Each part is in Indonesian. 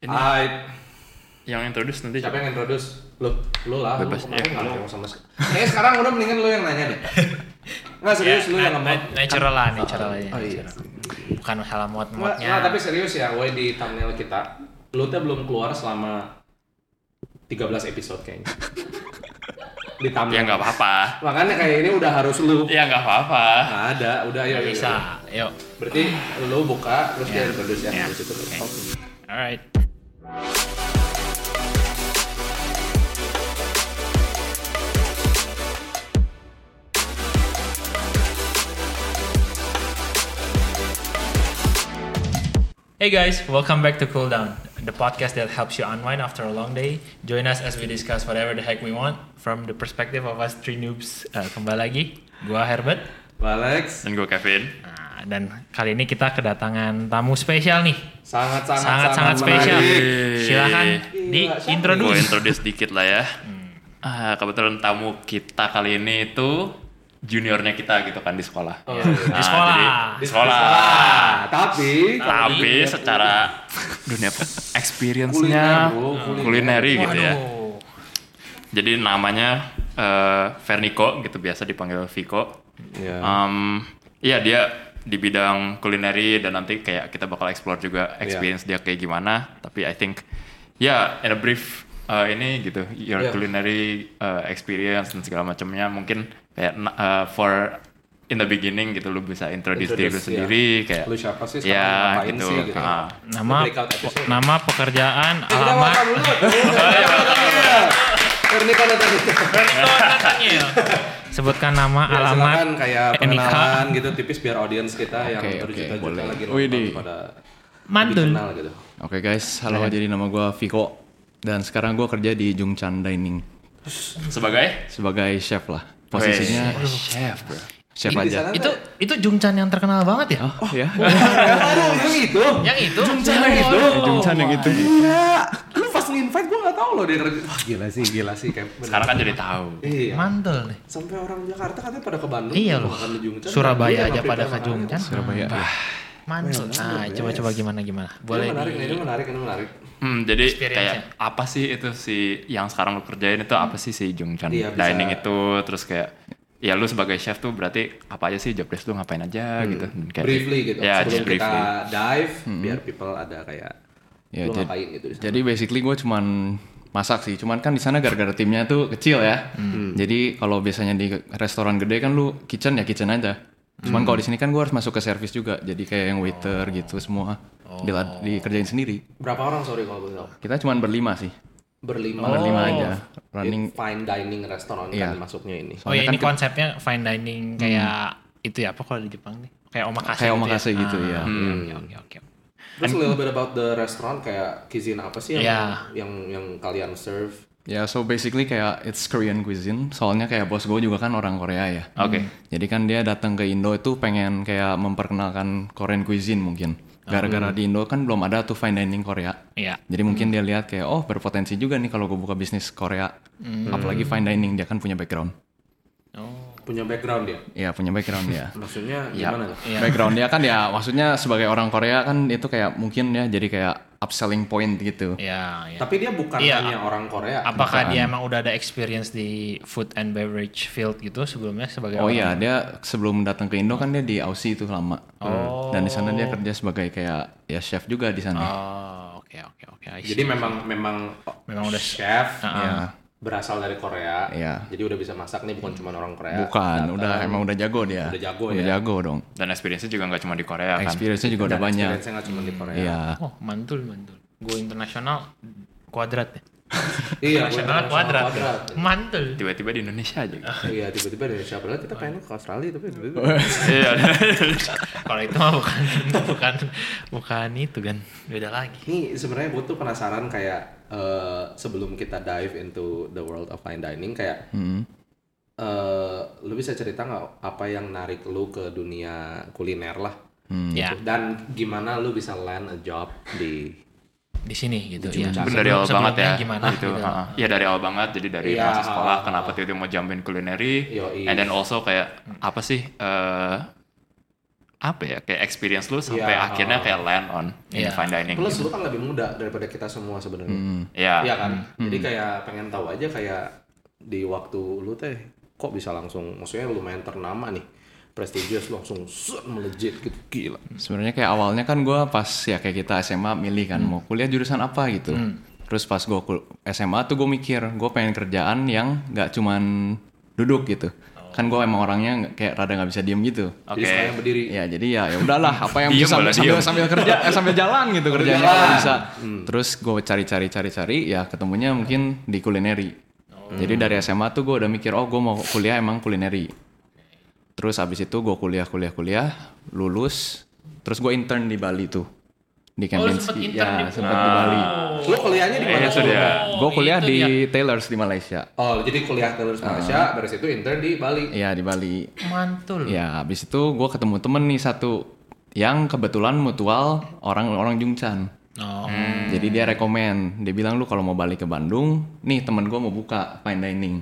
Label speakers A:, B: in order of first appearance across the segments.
A: Ini
B: Hai,
A: yang introduce nanti
B: siapa
A: siapa?
B: yang introduce? Lu, lu lah.
A: Bebas,
B: lu kemarin
A: ya.
B: nggak ngomong sama sekali. Kayaknya sekarang udah mendingan lu yang nanya deh. Nggak serius
A: Iya,
B: lu yang ngomong.
C: natural lah, natural aja.
B: Oh iya.
C: natural. Bukan hal mod
B: Nggak,
C: modnya.
B: nggak, tapi serius ya, woi di thumbnail kita, lu tuh belum keluar selama 13 episode kayaknya. Di
A: Ya
B: thumbnail.
A: nggak apa-apa.
B: Makanya kayak ini udah harus lu.
A: Ya nggak apa-apa.
B: Nggak ada, udah ayo.
C: Nggak
B: ayo,
C: bisa.
B: ayo.
C: Yuk.
B: Berarti lu buka, terus
A: Iya.
B: dia introduce ya.
C: Ya.
B: Habis itu.
C: Oke.
B: Oke.
C: Alright. Hey guys, welcome back to Cool Down, the podcast that helps you unwind after a long day. Join us as we discuss whatever the heck we want from the perspective of us three noobs. Eh, kembali lagi, gua Herbert.
B: Alex,
A: Dan gue Kevin.
C: Nah, dan kali ini kita kedatangan tamu spesial nih
B: sangat-sangat
C: sangat-sangat spesial.
B: menarik. Iya,
C: Silahkan
B: Gila,
C: di
B: siapa?
C: intro dulu.
A: Gue introduce dikit lah ya.
C: Hmm.
A: Ah, kebetulan tamu kita kali ini itu juniornya kita gitu kan di sekolah.
B: Oh, iya.
C: Di sekolah. Iya,
A: Di sekolah.
B: Ah, tapi
A: Tapi secara dunia pe-
B: kuliner,
A: experience-nya
B: bro, kuliner.
A: kulineri gitu ya. Jadi namanya eh, Verniko gitu biasa dipanggil Viko.
B: Iya.
A: Um, Iya dia di bidang kulineri dan nanti kayak kita bakal explore juga
B: Ya.
A: experience dia kayak gimana. Tapi I think ya in a brief uh, ini gitu your
B: Iya.
A: culinary uh, experience dan segala macamnya mungkin kayak na- uh, for in the beginning gitu lu bisa introduce, diri
B: Introduce,
A: lu
B: ya.
A: sendiri kayak
B: Lu siapa sih sekarang
A: ya
B: ngapain
A: gitu.
B: sih gitu.
A: Ah.
C: Nama
B: Breakout episode.
C: nama pekerjaan
B: Eh, udah
C: alamat.
B: makan dulu. Iya. Pernikahan tadi.
C: Sebutkan nama
B: Ya,
C: alamat.
B: silakan kayak
C: eh, nikah.
B: pengenalan gitu tipis biar audiens kita yang
D: Oke, oke,
B: berjuta-juta
D: boleh.
B: lagi
D: Widih.
B: nonton pada
C: Mantul.
B: lebih kenal gitu.
D: Oke guys, halo jadi nama gue Viko dan sekarang gue kerja di Jungchan Dining
A: Sebagai
D: sebagai chef lah posisinya
A: Weh, chef bro.
D: chef
B: Ih, di
D: aja.
B: sana
C: Itu
B: tuh-
C: itu Jungchan yang terkenal banget ya?
D: Oh ya,
B: Aduh, yang itu.
C: Yang itu. Oh.
D: yang itu, Jungchan yang gitu. itu.
B: Iya. Lu pas nge-invite gua enggak tahu loh dia kerja. Wah, gila sih, gila sih kayak. bener.
A: Sekarang kan jadi tahu.
B: Iya.
C: Mantul nih.
B: Sampai orang Jakarta katanya pada ke Bandung.
C: Iya
B: mau
C: loh.
B: makan di Jungchan. Iya,
C: Surabaya aja
B: mampir
C: pada ke
B: makan.
C: Jungchan.
D: Surabaya. iya.
C: Mantul. Nah, coba-coba gimana gimana.
B: Ini
C: Boleh Oh,
B: menarik, nih,
C: di
B: ini menarik, ini menarik.
A: Hmm, jadi
C: Experience-nya.
A: kayak apa sih itu si yang sekarang lu kerjain itu apa sih si Jungchan
B: Iya, bisa.
A: Dining itu terus kayak ya lu sebagai chef tuh berarti apa aja sih job desk lu ngapain aja gitu kayak,
B: Hmm. briefly gitu.
A: ya
B: Sebelum
A: just briefly
B: kita dive, biar people ada kayak
D: Ya,
B: lu
D: jadi-
B: ngapain gitu. di sana.
D: Jadi basically gue cuman masak sih, cuman kan di sana gara-gara timnya tuh kecil ya.
B: Hmm.
D: Jadi kalau biasanya di restoran gede kan lu kitchen ya kitchen aja. Cuman kalau di sini kan gue harus masuk ke service juga, jadi kayak yang
B: Oh.
D: waiter gitu semua Dila- dikerjain sendiri.
B: Berapa orang sorry kalau gue tahu?
D: Kita cuman berlima sih,
B: Berlima.
D: berlima aja. Running
B: Di fine dining restoran kan
D: Iya.
B: masuknya ini.
C: Oh ya
D: Soalnya kan Hmm.
C: ini konsepnya fine dining kayak itu ya apa kalau di Jepang nih? Kayak omakase
D: kayak
C: gitu ya?
D: omakase gitu
C: Ah,
D: ya.
C: Oke oke oke.
B: Terus a little bit about the restaurant kayak cuisine apa sih yang
C: Iya.
B: yang yang kalian serve?
D: Ya, so basically kayak it's Korean cuisine. Soalnya kayak bos gue juga kan orang Korea ya.
A: oke
C: Hmm.
D: Jadi kan dia datang ke Indo itu pengen kayak memperkenalkan Korean cuisine mungkin. Gara-gara di Indo kan belum ada tuh fine dining Korea.
C: Iya.
D: Jadi mungkin dia lihat kayak oh berpotensi juga nih kalau gue buka bisnis Korea. Apalagi fine dining dia kan punya background.
C: Oh.
B: Punya background dia?
D: Iya, punya background dia.
B: Maksudnya
A: Iya.
B: gimana tuh?
C: Iya.
D: Background dia kan ya maksudnya sebagai orang Korea kan itu kayak mungkin ya jadi kayak upselling point gitu.
C: Iya, iya.
B: Tapi dia bukan
C: Iya.
B: hanya orang Korea.
C: Apakah dia emang udah ada experience di food and beverage field gitu sebelumnya sebagai
D: Oh
C: orang?
D: iya, dia sebelum datang ke Indo kan dia di Aussie itu lama. Dan di sana dia kerja sebagai kayak ya chef juga di sana.
C: Oh, oke oke oke. I see.
B: Jadi memang memang
C: Memang udah-
B: chef
D: Iya.
B: berasal dari Korea.
D: Iya.
B: Jadi udah bisa masak nih bukan cuma orang Korea.
D: Bukan, udah emang udah jago dia.
B: ya, Udah jago
D: Udah
B: ya.
D: jago dong.
A: dan experience-nya juga nggak cuma di Korea kan
D: Experience-nya juga udah banyak.
B: Experience-nya nggak cuma di Korea.
D: Iya.
C: Oh, mantul mantul. Go internasional kuadrat ya.
B: Iya,
C: Internasional kuadrat. Mantul.
A: tiba-tiba di Indonesia aja gitu.
B: Iya, tiba-tiba dari Indonesia padahal kita pengen ke Australia tapi tiba-tiba.
A: iya
C: Kalau itu mah bukan bukan bukan itu kan. Beda lagi.
B: Ini sebenarnya gue tuh penasaran kayak eh, sebelum kita dive into the world of fine dining kayak
D: Hmm.
B: eh, lu bisa cerita nggak apa yang narik lu ke dunia kuliner lah
D: Hmm.
C: Ya,
B: dan gimana lu bisa land a job di
C: di sini gitu
B: Di
C: ya.
B: Jogja.
A: Pun dari awal
C: Sebelum-
A: banget ya
C: sebelumnya Gimana
A: gitu,
C: gitu.
A: ha-ha. Iya, dari awal banget jadi dari
B: Iya,
A: masa sekolah
B: ha-ha.
A: kenapa tiba-tiba mau jamben kulineri
C: Hmm.
B: Yoi.
A: and then also kayak apa sih eh, apa ya kayak experience lu sampai
B: Iya.
A: akhirnya kayak land on in
C: Iya.
A: fine dining.
B: Plus
A: gitu.
B: lu kan lebih muda daripada kita semua sebenarnya.
A: Iya.
B: Iya kan? Jadi kayak pengen tahu aja kayak di waktu lu teh kok bisa langsung maksudnya lumayan ternama nih. Prestigious lu langsung set, melejit gitu gila.
D: Sebenarnya kayak awalnya kan gue pas ya kayak kita SMA milih kan mau kuliah jurusan apa gitu. Terus pas gue SMA tuh gue mikir gue pengen kerjaan yang nggak cuman duduk gitu. Kan gue emang orangnya nggak- kayak rada nggak bisa diem gitu.
A: Oke.
B: Jadi sekarang berdiri.
D: Ya jadi ya ya udahlah apa yang
A: Diem
D: bisa
A: boleh,
D: sambil,
A: diem.
D: sambil kerja eh, sambil jalan gitu kerjanya
B: jalan.
D: kalau bisa.
C: Hmm.
D: Terus gue cari-cari cari-cari ya ketemunya mungkin di kulineri.
C: Oh.
D: Jadi dari SMA tuh gue udah mikir oh gue mau kuliah emang kulineri. Terus abis itu gue kuliah kuliah kuliah lulus. Terus gue intern di Bali tuh di
C: Oh, sempet
D: Kempinski.
C: intern
D: ya
C: di- Ah, oh,
D: sempet di Bali.
B: Lu kuliahnya di mana?
A: Eh, itu
B: dulu?
A: dia.
D: gue kuliah
C: itu
D: di
C: dia.
D: Taylor's di Malaysia.
B: Oh, jadi kuliah terus Malaysia, dari situ intern di Bali.
D: Iya di Bali.
C: Mantul.
D: Ya, habis itu gue ketemu temen nih satu yang kebetulan mutual orang-orang Jungchan.
C: Oh.
D: Hmm. Jadi dia rekomen, dia bilang lu kalau mau balik ke Bandung, nih temen gue mau buka fine dining.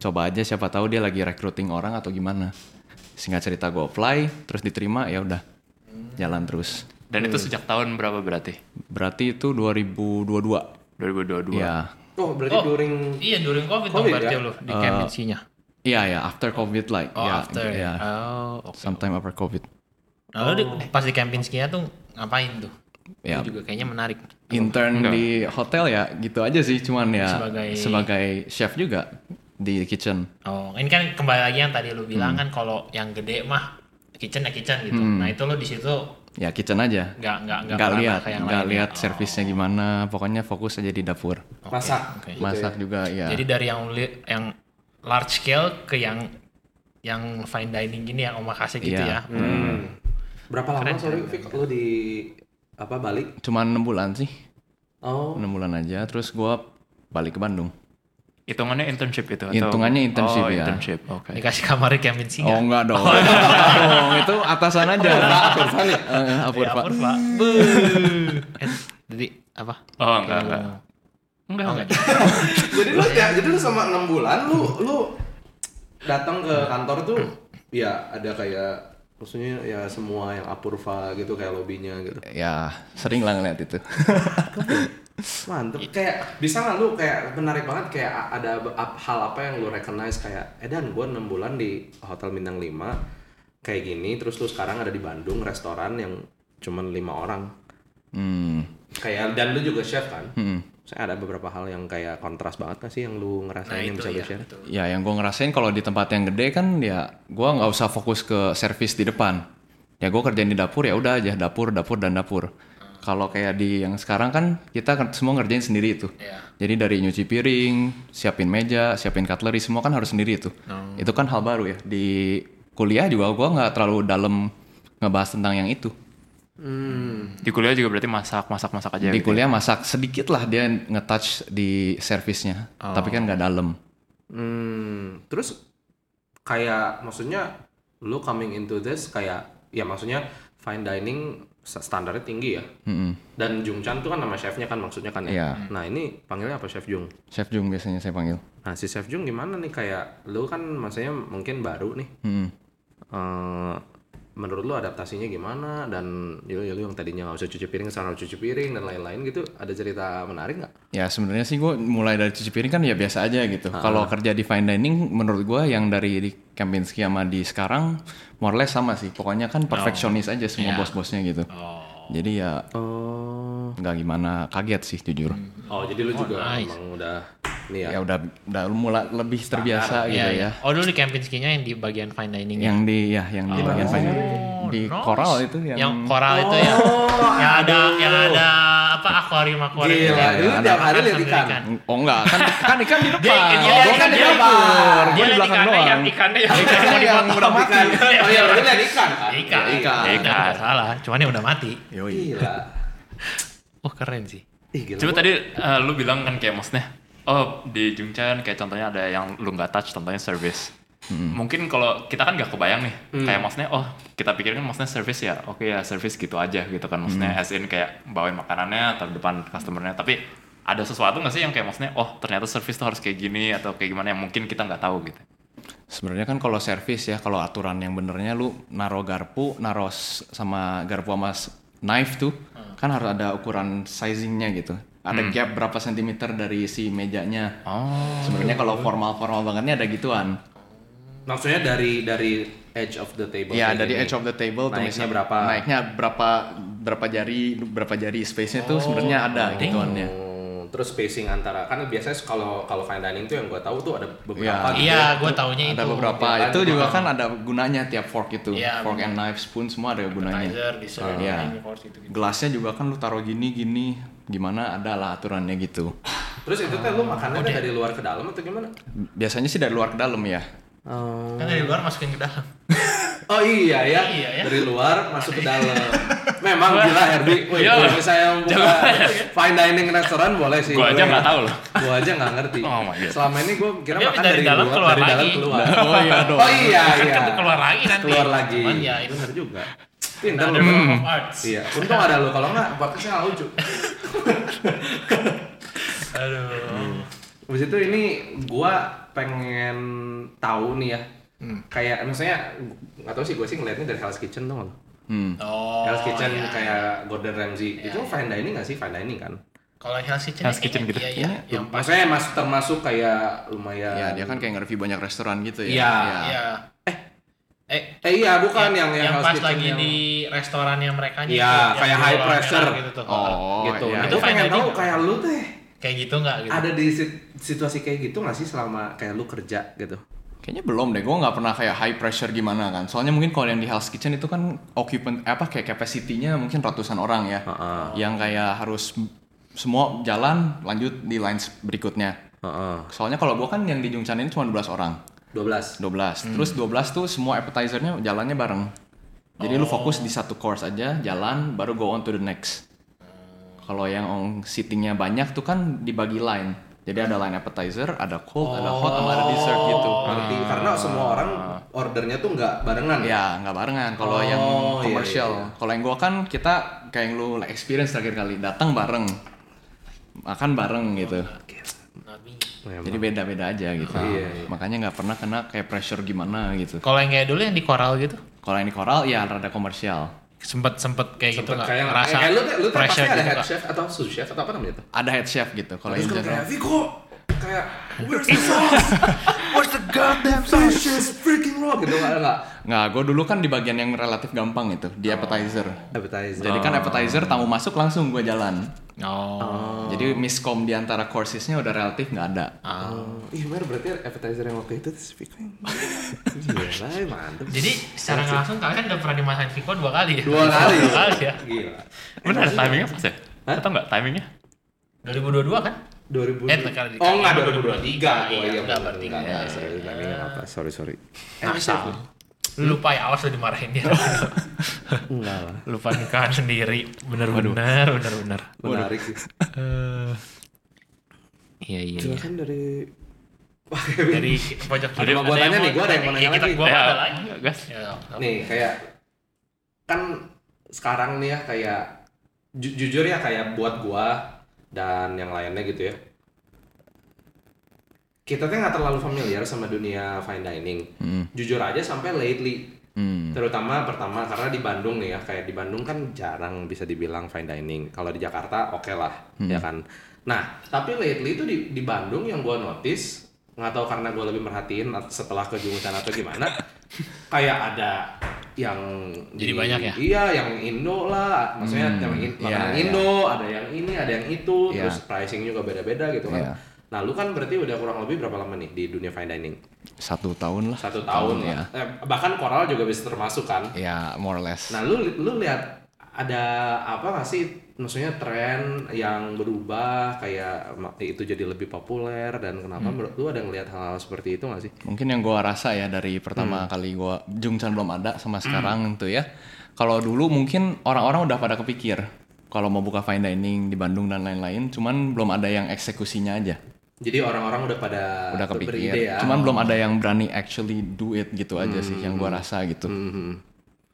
D: Coba aja siapa tahu dia lagi recruiting orang atau gimana. Singkat cerita gue apply, terus diterima ya udah. Jalan terus.
A: Dan itu
D: Hmm.
A: sejak tahun berapa berarti?
D: Berarti itu 2022.
A: 2022.
D: Ya.
B: Oh, berarti during
C: Iya, during COVID, dong
B: Covid,
C: berarti
B: ya?
C: lu di
D: Eh,
C: Kempinski-nya.
D: Iya ya, after covid like.
C: Oh,
D: ya,
C: after.
D: ya.
C: Oh, oke.
D: Sometime after covid.
C: Nah, lu di- pas di Kempinski-nya tuh ngapain tuh?
D: Ya,
C: Itu juga kayaknya menarik.
D: intern
A: Enggak.
D: di hotel ya gitu aja sih cuman ya
C: Sebagai-
D: sebagai, chef juga di kitchen
C: Oh, ini kan kembali lagi yang tadi lu bilang
D: Hmm.
C: kan kalau yang gede mah kitchen ya kitchen gitu. Nah, itu lu di situ
D: ya kitchen aja
C: nggak nggak nggak
D: Hmm. nggak
C: merambah
D: lihat
C: ke yang
D: nggak
C: lain ya?
D: lihat
C: Oh,
D: servisnya gimana pokoknya fokus aja di dapur
C: oke,
B: masak.
C: oke.
B: Gitu
D: masak juga ya
C: Jadi dari yang li- yang large scale ke yang yang fine dining gini yang omakase gitu
D: Iya.
C: ya.
B: Hmm. Berapa lama sorry Fik lu di apa Bali?
D: cuman enam bulan sih
B: Oh,
D: enam bulan aja terus gua balik ke Bandung
A: Hitungannya internship itu atau?
D: Hitungannya internship,
A: oh,
D: ya.
A: internship. Oke.
C: Dikasih kamar di Kempinski
D: oh enggak dong
C: iya.
D: Enggak dong itu atasan aja Eh,
C: Ya,
D: Apurva.
C: ampun, Pak. Be. Eh, Jadi apa?
A: Oh, enggak, enggak.
D: Oh,
A: Enggak, enggak.
B: jadi lu ya, jadi lu sama enam bulan lu lu datang ke kantor tuh ya ada kayak maksudnya ya semua yang apurva gitu kayak lobbynya gitu
D: ya sering lah ngeliat itu
B: mantep
C: Gitu.
B: kayak bisa nggak lu kayak menarik banget kayak a- ada ab- ap- hal apa yang lu recognize kayak eh dan gua enam bulan di hotel bintang 5 kayak gini terus lu sekarang ada di Bandung restoran yang cuman lima orang
D: hmm.
B: kayak dan lu juga chef kan
D: Hmm.
B: saya ada beberapa hal yang kayak kontras banget gak sih yang lu
C: Nah,
B: ngerasain yang
C: itu
B: bisa
C: ya.
B: lu share
C: betul.
D: Ya yang gue ngerasain kalau di tempat yang gede kan ya gue nggak usah fokus ke servis di depan. Ya gue kerjain di dapur ya udah aja dapur dapur dan dapur. Kalau kayak di yang sekarang kan kita ker- semua ngerjain sendiri itu.
C: Iya.
D: Jadi dari nyuci piring, siapin meja, siapin cutlery semua kan harus sendiri itu. Itu kan hal baru ya di kuliah juga gue nggak terlalu dalam ngebahas tentang yang itu.
B: Hmm.
A: Di kuliah juga berarti masak, masak, masak aja.
D: Di
A: gitu.
D: kuliah masak sedikit lah dia ngetouch di servisnya, tapi kan nggak dalam.
B: Hmm, terus kayak maksudnya lu coming into this kayak ya maksudnya fine dining sa- standarnya tinggi ya.
D: Mm-mm.
B: Dan Jung Chan tuh kan nama chefnya kan maksudnya kan ya.
D: Iya.
B: Nah ini panggilnya apa chef Jung?
D: Chef Jung biasanya saya panggil.
B: Nah si chef Jung gimana nih kayak lu kan maksudnya mungkin baru nih.
D: Mm-mm.
B: Eh, menurut lu adaptasinya gimana dan ya, lu- ya lu yang tadinya nggak usah cuci piring sekarang harus cuci piring dan lain-lain gitu ada cerita menarik nggak?
D: Ya sebenarnya sih gue mulai dari cuci piring kan ya biasa aja gitu. Kalau kerja di fine dining menurut gue yang dari di Kempinski sama di sekarang more or less sama sih. Pokoknya
C: Oh.
D: kan perfeksionis aja semua
C: Iya.
D: bos-bosnya gitu. Jadi ya
B: Oh,
D: nggak gimana kaget sih jujur.
C: Hmm,
B: oh jadi lu juga emang udah nih ya.
D: Ya udah udah mulai lebih terbiasa gitu
C: Iya,
D: ya.
C: iya. Oh, dulu di Kempinski-nya yang di bagian fine dining
D: Yang di ya yang di bagian fine dining. di
C: nice.
D: koral itu yang,
C: Oh. yang koral itu ya
B: Oh,
C: yang ada yang ada apa akuarium akuarium
B: Gila,
C: itu.
B: lu tiap hari lihat
C: Sambil
B: ikan.
D: Oh enggak, kan kan ikan di
C: dia
D: depan.
C: dia
D: Gua
C: lihat
D: kan di
C: ikan, dia
D: dapur,
C: lihat
D: gua di belakang
C: ikannya,
D: doang.
C: yang ikannya yang
D: Ikannya yang udah mati.
B: Oh iya, lu lihat ikan kan?
C: ikan
B: Ya,
C: ikan
A: Ikan.
C: Nah, nggak salah cuman yang udah mati
D: Yoi.
B: Gila.
C: oh keren sih
B: Ih, gila.
A: Cuma tadi eh, lu bilang kan kayak maksudnya, oh di Jungchan kayak contohnya ada yang lu nggak touch, contohnya service. Mungkin kalau kita kan nggak kebayang nih,
B: Hmm.
A: kayak maksudnya oh kita pikirin maksudnya service ya, oke ya service gitu aja gitu kan maksudnya as in kayak bawain makanannya atau depan customernya, tapi ada sesuatu nggak sih yang kayak maksudnya oh ternyata service tuh harus kayak gini atau kayak gimana yang mungkin kita nggak tahu gitu.
D: Sebenarnya kan kalau service ya, kalau aturan yang benernya lu naro garpu, naro s- sama garpu sama s- knife tuh kan harus ada ukuran sizingnya gitu. Ada gap berapa sentimeter dari si mejanya.
A: Oh.
D: Sebenarnya kalau formal-formal bangetnya ada gituan.
B: Maksudnya dari dari edge of the table.
D: Iya
B: kayak
D: dari
B: gini.
D: edge of the table
B: Naiknya
D: tulisnya
B: berapa?
D: Naiknya berapa berapa jari berapa jari space-nya tuh sebenarnya ada gituannya.
B: Hmm, terus spacing antara kan biasanya kalau kalau fine dining tuh yang gue tahu tuh ada beberapa gitu ya.
C: Iya, gue taunya itu.
D: Ada beberapa
B: ya kan?
D: itu juga kan ada gunanya tiap fork itu.
C: Iya,
D: fork and knife spoon semua ada gunanya.
C: Appetizer, dessert,
D: Iya.
C: main course gitu-gitu.
D: Gelasnya juga kan lu taruh gini gini gimana ada lah aturannya gitu.
B: Terus itu tuh lu
C: Oh,
B: makannya tuh dari luar ke dalam atau gimana?
D: Biasanya sih dari luar ke dalam ya.
B: Oh.
C: Kan dari luar masukin ke dalam.
B: iya ya.
C: Iya ya.
B: Dari luar masuk ke dalam. Memang gila Herbi. Wih,
A: Iya
B: kalau
A: loh.
B: misalnya buka fine dining restoran Iya, boleh sih.
A: Gua aja nggak tahu loh.
B: Gue aja nggak ngerti.
A: Oh my God.
B: Selama ini gue kira
C: Tapi
B: makan
C: dari
B: dari,
C: dalam
B: luar,
C: keluar
B: dari dalam
C: lagi.
B: keluar.
D: Oh iya dong.
B: Oh iya
C: Kan
B: iya.
C: kan keluar lagi nanti.
B: Keluar lagi.
C: Cuman ya itu Nah,
B: Bener juga. Pinter
C: ada
B: lu.
C: Realm of Arts.
B: Iya, untung ada lu. Kalau nggak, podcastnya nggak lucu.
C: Aduh.
B: Iya. Habis itu ini gua pengen tahu nih ya. Kayak misalnya nggak tahu sih gue sih ngelihatnya dari Hell's Kitchen tuh loh.
D: Hmm.
C: Oh.
B: Hell's Kitchen
C: iya.
B: kayak Gordon Ramsay. itu fine dining nggak sih? Fine dining kan.
C: Kalau Hell's Kitchen.
A: Hell's
C: ya,
A: Kitchen
C: iya,
A: gitu.
C: Iya,
D: Iya.
C: Yang pas.
B: Maksudnya mas termasuk kayak lumayan.
D: Ya dia kan kayak nge-review banyak restoran gitu ya.
B: Iya.
C: Iya. Eh.
B: Eh iya bukan yang yang,
C: yang,
B: Hell's
C: pas
B: Kitchen
C: lagi
B: yang-
C: di restorannya mereka
B: Iya, kayak high pressure.
C: gitu tuh.
D: Oh,
B: gitu.
D: iya,
B: Nah,
C: Itu
B: gua
C: fine
D: iya.
B: pengen
C: dining
B: tahu
C: nggak?
B: kayak lu teh
C: Kayak gitu nggak gitu.
B: ada di sit- situasi kayak gitu nggak sih selama kayak lu kerja gitu.
D: Kayaknya belum deh, gue nggak pernah kayak high pressure gimana kan. Soalnya mungkin kalau yang di Hell's Kitchen itu kan occupant apa kayak capacity-nya mungkin ratusan orang ya.
B: Heeh.
D: Yang kayak harus m- semua jalan lanjut di lines berikutnya.
B: Heeh.
D: Soalnya kalau gue kan yang di Jungchan ini cuma 12 orang.
B: 12.
D: 12. Terus
B: Hmm.
D: 12 tuh semua appetizer-nya jalannya bareng. Jadi lu fokus di satu course aja, jalan baru go on to the next. Kalau yang on- seating-nya banyak tuh kan dibagi line. Jadi ada line appetizer, ada cold, ada hot, sama ada dessert gitu.
B: Ngerti, karena semua orang ordernya tuh nggak barengan.
D: Ya, nggak barengan. Kalau
B: Oh,
D: yang
B: iya,
D: komersial,
B: iya.
D: kalau yang gua kan kita kayak yang lu experience terakhir kali datang bareng, makan bareng gitu.
C: Nabi.
B: Memang.
D: Jadi beda-beda aja gitu.
B: Iya,
D: Makanya nggak pernah kena kayak pressure gimana gitu.
C: Kalau yang kayak dulu yang di koral gitu.
D: Kalau yang di koral ya rada komersial.
C: sempet sempet kayak gitu
B: Sempet
C: nggak
B: kayak
C: rasa
B: eh, lu, lu tuh pasti
C: pressure
B: ada
C: gitu
B: head
C: nggak?
B: chef atau sous chef atau apa namanya tuh
D: Ada head chef gitu. Kalau
B: terus
D: yang
B: kan kayak
D: general.
B: Viko kayak where's the sauce where's the goddamn sauce It's freaking raw gitu nggak nggak
D: Nggak, gue dulu kan di bagian yang relatif gampang itu di appetizer.
B: appetizer
D: Jadi kan appetizer tamu masuk langsung gua jalan.
C: oh
D: Jadi miskom di antara coursesnya udah relatif nggak ada.
C: Ah.
B: Oh, Ih, Mer, berarti appetizer yang waktu itu tuh Viko yang gila ya, mantep
C: jadi secara nggak langsung kalian udah pernah dimasakin Viko dua kali ya
B: dua kali
C: dua kali ya
B: gila
A: Bener ada timingnya pas ya?
B: Hah?
A: Atau nggak timingnya?
C: 2022 kan
B: 2000
C: Eh, kali di-
B: oh enggak 2023 oh
C: 2023.
B: iya
C: Iya, udah,
B: benar
C: berarti
B: enggak
C: enggak.
B: enggak, sorry timing apa sorry sorry
C: asal lu lupa ya awas udah dimarahin dia
B: enggak lah
C: lupa nikahan sendiri bener bener bener bener
B: menarik sih
C: Eh, iya iya iya.
B: silakan kan dari
C: dari pojok
B: Ada mau gua tanya iya. nih, gua ada yang mau nanya lagi.
C: gue
A: Ya,
C: ada lagi
A: Gas.
C: Ya,
B: nih kayak kan sekarang nih ya kayak ju- jujur ya kayak buat gua dan yang lainnya gitu ya kita tuh nggak terlalu familiar sama dunia fine dining jujur aja sampai lately
D: Hmm.
B: terutama pertama karena di Bandung nih ya kayak di Bandung kan jarang bisa dibilang fine dining kalau di Jakarta oke lah ya kan nah tapi lately itu di, di Bandung yang gua notice nggak tahu karena gua lebih merhatiin at- setelah ke Jumutan atau gimana kayak ada yang
C: Jadi
B: di-
C: banyak ya?
B: iya yang Indo lah maksudnya yang in-
D: iya,
B: makanan
D: iya.
B: Indo ada yang ini ada yang itu
D: Iya.
B: terus pricing juga beda-beda gitu kan
D: Iya.
B: nah lu kan berarti udah kurang lebih berapa lama nih di dunia fine dining
D: Satu tahun lah.
B: satu tahun
D: ya.
B: lah. Eh, bahkan koral juga bisa termasuk kan
D: Ya, more or less.
B: Nah, lu lu lihat ada apa nggak sih maksudnya tren yang berubah kayak ma- itu jadi lebih populer dan
D: Hmm.
B: kenapa menurut lu ada ngelihat hal-hal seperti itu nggak sih?
D: Mungkin yang gua rasa ya dari pertama kali gua Jungchan belum ada sama sekarang itu ya. Kalau dulu mungkin orang-orang udah pada kepikir kalau mau buka fine dining di Bandung dan lain-lain, cuman belum ada yang eksekusinya aja.
B: Jadi orang-orang udah pada
D: Udah
B: ber-
D: kepikir.
B: beride ya.
D: Cuman belum ada yang berani actually do it gitu aja sih yang
B: Hmm.
D: gua rasa gitu.
B: Mhm.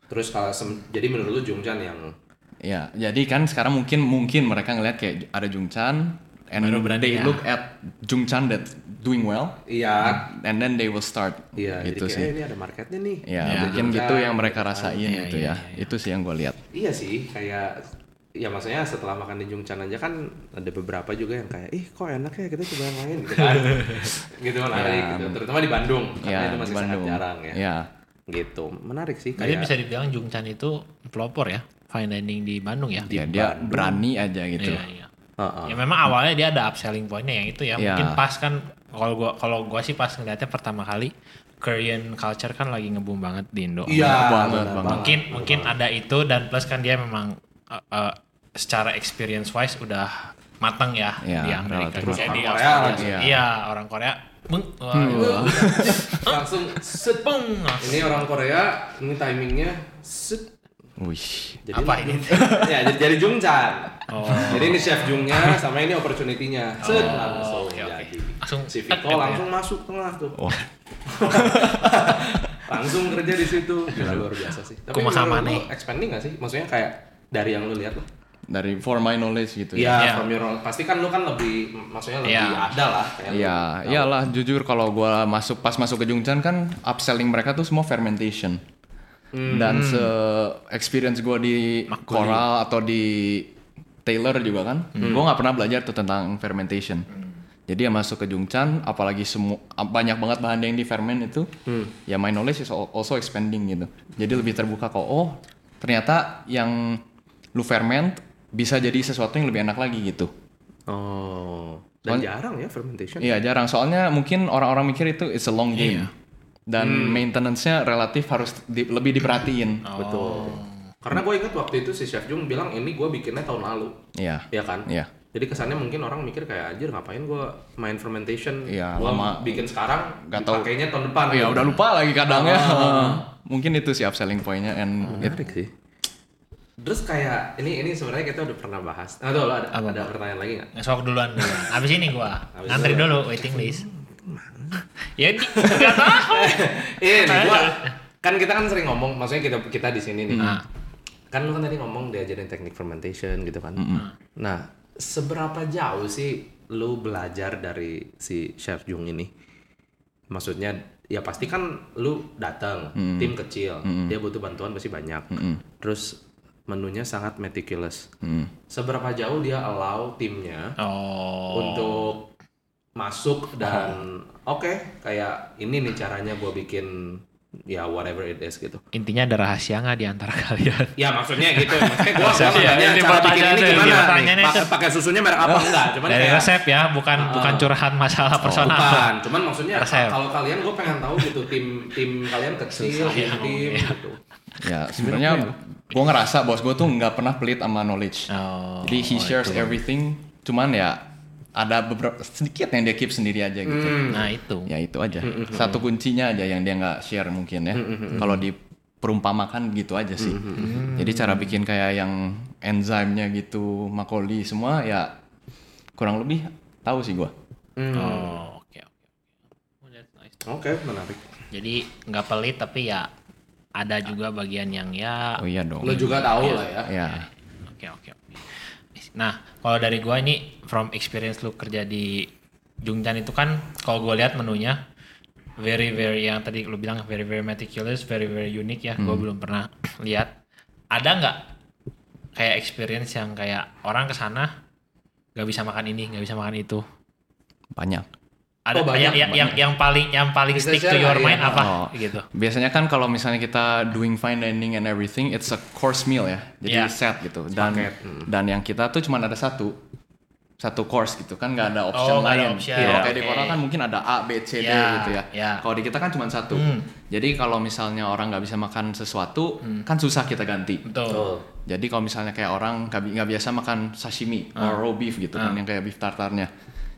B: Terus kalau sem- jadi menurut lu Jungchan yang
D: Ya, jadi kan sekarang mungkin mungkin mereka ngelihat kayak ada Jungchan and
C: Baru berani
D: they
C: ya.
D: look at Jungchan that doing well
B: Iya.
D: and then they will start
B: Iya. jadi
D: gitu
B: kayak,
D: sih.
B: "Eh, ini ada marketnya nih.
D: Ya,
C: Ya,
D: mungkin
B: Jungchan.
D: gitu yang mereka rasain
C: Iya,
D: gitu
C: iya,
D: ya. Itu sih yang gue lihat.
B: Iya sih, kayak ya maksudnya setelah makan di Jungchan aja kan ada beberapa juga yang kayak ih kok enak ya kita coba yang lain gitu kan gitu menarik gitu terutama di Bandung karena
D: Ya,
B: itu
D: di
B: masih sangat
D: Bandung.
B: jarang ya
D: Ya.
B: gitu menarik sih
C: Jadi
B: kayak
C: bisa dibilang Jungchan itu pelopor ya fine dining di Bandung
B: Iya,
C: ya.
D: Ya, dia berani aja gitu.
C: Iya, iya.
B: Heeh.
C: Ya memang awalnya dia ada upselling pointnya yang itu ya.
D: Iya.
C: Mungkin pas kan kalau gua kalau gua sih pas ngeliatnya pertama kali Korean culture kan lagi ngeboom banget di Indo.
B: iya
D: banget,
B: benar
D: banget.
C: Mungkin mungkin ada itu dan plus kan dia memang uh, uh, secara experience wise udah matang ya
D: Iya,
C: di Amerika.
D: relatif
C: Kayak di
B: matang. Orang
C: Australia.
D: Korea lagi.
C: Iya, orang Korea. Meng, wah,
D: Hmm.
B: langsung set
C: peng.
B: ini orang Korea ini timingnya set
D: Wih.
B: jadi
C: Apa ini?
B: ya jadi, jadi Jungchan
C: Oh.
B: jadi ini chef Jungnya sama ini opportunity-nya set langsung
C: oke, oke.
B: jadi
C: Langsung
B: si
C: tek
B: Viko
C: gitu ya.
B: langsung masuk tengah tuh
D: Wah.
B: langsung kerja di situ Gila, luar biasa sih tapi
C: Kumaha
B: menurut
C: maneh.
B: lu expanding gak sih maksudnya kayak dari yang lu lihat lah
D: Dari for my knowledge gitu ya.
B: Iya,
C: Iya.
B: from your knowledge. pasti kan lu kan lebih maksudnya lebih
C: Iya.
B: ada lah kayak lu
D: Iya,
B: tahu.
D: iyalah jujur kalau gua masuk pas masuk ke Jungchan kan upselling mereka tuh semua fermentation. Dan se experience gua di Coral atau di Taylor juga kan, gua nggak pernah belajar tuh tentang fermentation. Jadi ya masuk ke Jungchan, apalagi semua banyak banget bahan yang difermen itu, ya my knowledge is al- also expanding gitu. Jadi lebih terbuka kok. Oh, ternyata yang lu ferment bisa jadi sesuatu yang lebih enak lagi gitu.
B: oh dan
D: Soalnya-
B: jarang ya fermentation
D: Iya jarang soalnya mungkin orang-orang mikir itu it's a long game dan maintenance-nya relatif harus di- lebih diperhatiin.
B: betul Oh. karena gue ingat waktu itu si chef Jung bilang ini gue bikinnya tahun lalu
D: Iya.
B: ya kan
D: Iya.
B: jadi kesannya mungkin orang mikir kayak anjir ngapain gue main fermentation
D: Iya,
B: Gua
D: lama.
B: bikin sekarang
D: Nggak tahu.
B: dipakainya tahun depan
D: Oh, ya udah lupa lagi kadang ya. mungkin itu sih upselling point-nya and it-
B: sih terus kayak ini ini sebenarnya kita udah pernah bahas nah tuh lo ada, ada pertanyaan lagi nggak
C: Ngesok duluan dulu. Abis ini gua
B: Abis
C: ngantri dulu waiting list. ya di, nggak tahu.
B: Iya, nih, gua kan kita kan sering ngomong, maksudnya kita kita di sini nih. Kan lu kan tadi ngomong diajarin teknik fermentation gitu kan. Nah, seberapa jauh sih lu belajar dari si chef Jung ini? Maksudnya ya pasti kan lu datang, tim kecil, dia butuh bantuan pasti banyak. Terus menunya sangat meticulous. Seberapa jauh dia allow timnya
C: Oh.
B: untuk masuk dan oke kayak ini nih caranya gue bikin ya whatever it is gitu
C: Intinya ada rahasia nggak di antara kalian?
B: ya maksudnya gitu maksudnya gue
A: Iya,
B: nanya cara
A: ini
B: bikin
A: pertanyaan
B: ini
A: dari-
B: gimana nih
C: pertanyaannya
B: Pak- pakai susunya merek apa enggak cuman
C: Oh. Dari
B: kayak
C: resep ya, bukan bukan curahan masalah personal.
B: bukan cuman maksudnya
C: Resep.
B: kalau kalian gue pengen tahu gitu tim tim kalian kecil
C: Susah ya,
B: tim tim
C: iya.
B: gitu
D: ya sebenarnya gua ngerasa bos gua tuh nggak pernah pelit sama knowledge.
C: Oh,
D: Jadi he shares everything, cuman ya ada beberapa sedikit yang dia keep sendiri aja gitu.
C: Nah itu.
D: ya itu aja satu kuncinya aja yang dia nggak share mungkin ya kalau di perumpamakan gitu aja sih jadi cara bikin kayak yang enzimnya gitu makoli semua ya kurang lebih tahu sih gua
C: Oh, oke oke. Oh, that's nice.
B: oke menarik
C: Jadi nggak pelit tapi ya ada juga bagian yang ya
D: oh iya
B: Ah.
D: dong
B: lo juga tahu lah ya
D: ya
C: Oke oke. oke. Nah kalau dari gua ini from experience lu kerja di Jungchan itu kan kalau gua lihat menunya very very yang tadi lu bilang very very meticulous, very very unique ya.
D: Hmm.
C: Gua belum pernah lihat. Ada nggak kayak experience yang kayak orang kesana nggak bisa makan ini, nggak bisa makan itu.
D: banyak
C: Ada ya,
B: Oh, banyak,
C: yang, yang, yang yang paling yang paling
B: Bisa
C: stick to
B: share
C: your
B: nggak
C: mind
B: ya?
C: apa
D: Oh.
C: gitu.
D: biasanya kan kalau misalnya kita doing fine dining and everything it's a course meal ya
C: Iya.
D: jadi set gitu dan
B: Paket.
C: Hmm.
D: dan yang kita tuh cuma ada satu satu course gitu kan nggak ada
C: Oh,
D: option
C: nggak ada
D: lain
C: option.
D: kalau
C: Iya,
D: kayak di
C: oke.
D: koran kan mungkin ada A B C D
C: Iya,
D: gitu ya
C: iya.
D: kalau di kita kan cuma satu
C: Hmm.
D: jadi kalau misalnya orang nggak bisa makan sesuatu kan susah kita ganti
C: Betul.
B: Betul.
D: jadi kalau misalnya kayak orang nggak bi- nggak biasa makan sashimi
C: Ah.
D: or raw beef gitu kan yang kayak beef tartarnya.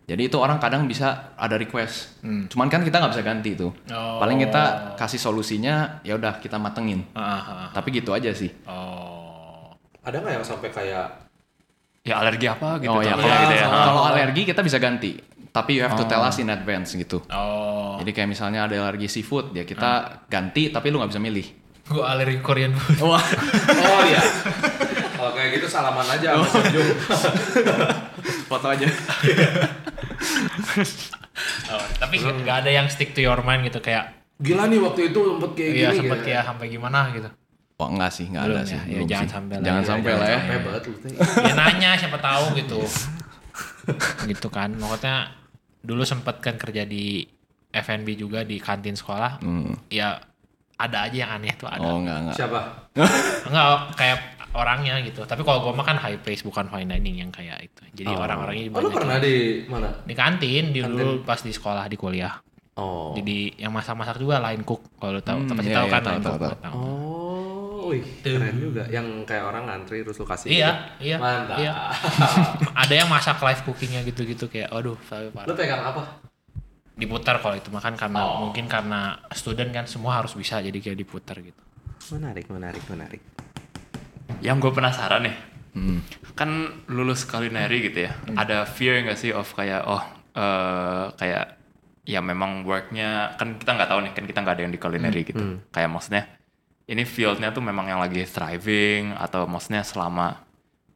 D: Jadi itu orang kadang bisa ada request. Cuman kan kita nggak bisa ganti itu.
C: Hmm. Oh.
D: Paling kita kasih solusinya ya udah kita matengin.
C: Ah, ah, ah.
D: Tapi gitu aja sih.
C: Oh.
B: ada nggak yang sampai kayak
A: ya alergi
C: Ah,
A: apa gitu
D: oh
A: contohnya
D: ya kalau
C: Iya,
A: gitu ya.
B: iya.
D: kalau alergi kita bisa ganti. Tapi you have to tell us in advance gitu.
C: Ah. Oh. Ah.
D: Jadi kayak misalnya ada alergi seafood ya kita ganti tapi lu nggak bisa milih.
C: Gua ya, alergi Korean food.
D: Wah.
B: oh iya kalau kayak gitu salaman aja sama Chef Jung
D: foto aja
C: Oh, tapi nggak ada yang stick to your mind gitu kayak
B: Gila nih waktu itu sempet kayak
C: iya
B: gini.
C: sempet
B: gitu.
C: kayak sampai gimana gitu.
D: wah enggak sih enggak
C: Belum
D: ada
C: ya,
D: sih
C: ya
D: belum
C: jangan
D: sih.
C: sampai lah,
D: jangan
C: ya,
D: sampai
C: jangan
D: lah ya
B: Capek banget lu teh.
C: Ya nanya siapa tahu gitu. gitu kan. Maksudnya dulu sempet kan kerja di F&B juga di kantin sekolah.
D: Hmm.
C: Ya ada aja yang aneh tuh ada.
D: oh enggak enggak
B: Siapa?
C: Enggak kayak orangnya gitu. Tapi kalau gua makan high place bukan fine dining yang kayak itu. Jadi Iya, orang-orangnya
B: Oh, lu
C: banyak.
B: pernah di mana?
C: Di kantin, di dulu pas di sekolah, di kuliah.
B: Oh.
C: Jadi yang masak-masak juga lain cook kalau lu tahu.
D: Hmm,
C: Tapi
D: iya,
C: tahu
D: iya,
C: kan
D: tahu,
C: line
D: tahu,
C: cook.
D: tahu.
C: tahu.
B: Oh, wih, keren juga. Yang kayak orang ngantri terus lu kasih.
C: Iya,
B: gitu.
C: iya.
B: Mantap.
C: Iya. ada yang masak live cookingnya gitu-gitu kayak aduh tapi
B: lu
C: parah
B: pegang apa?
C: diputar kalau itu makan karena
B: Oh.
C: mungkin karena student kan semua harus bisa jadi kayak diputar gitu
B: Menarik, menarik, menarik.
A: Yang gue penasaran nih, kan lulus kulineri gitu ya, ada fear nggak sih of kayak oh eh, kayak ya memang worknya kan kita nggak tahu nih kan kita nggak ada yang di culinary gitu, kayak maksudnya ini fieldnya tuh memang yang lagi thriving atau maksudnya selama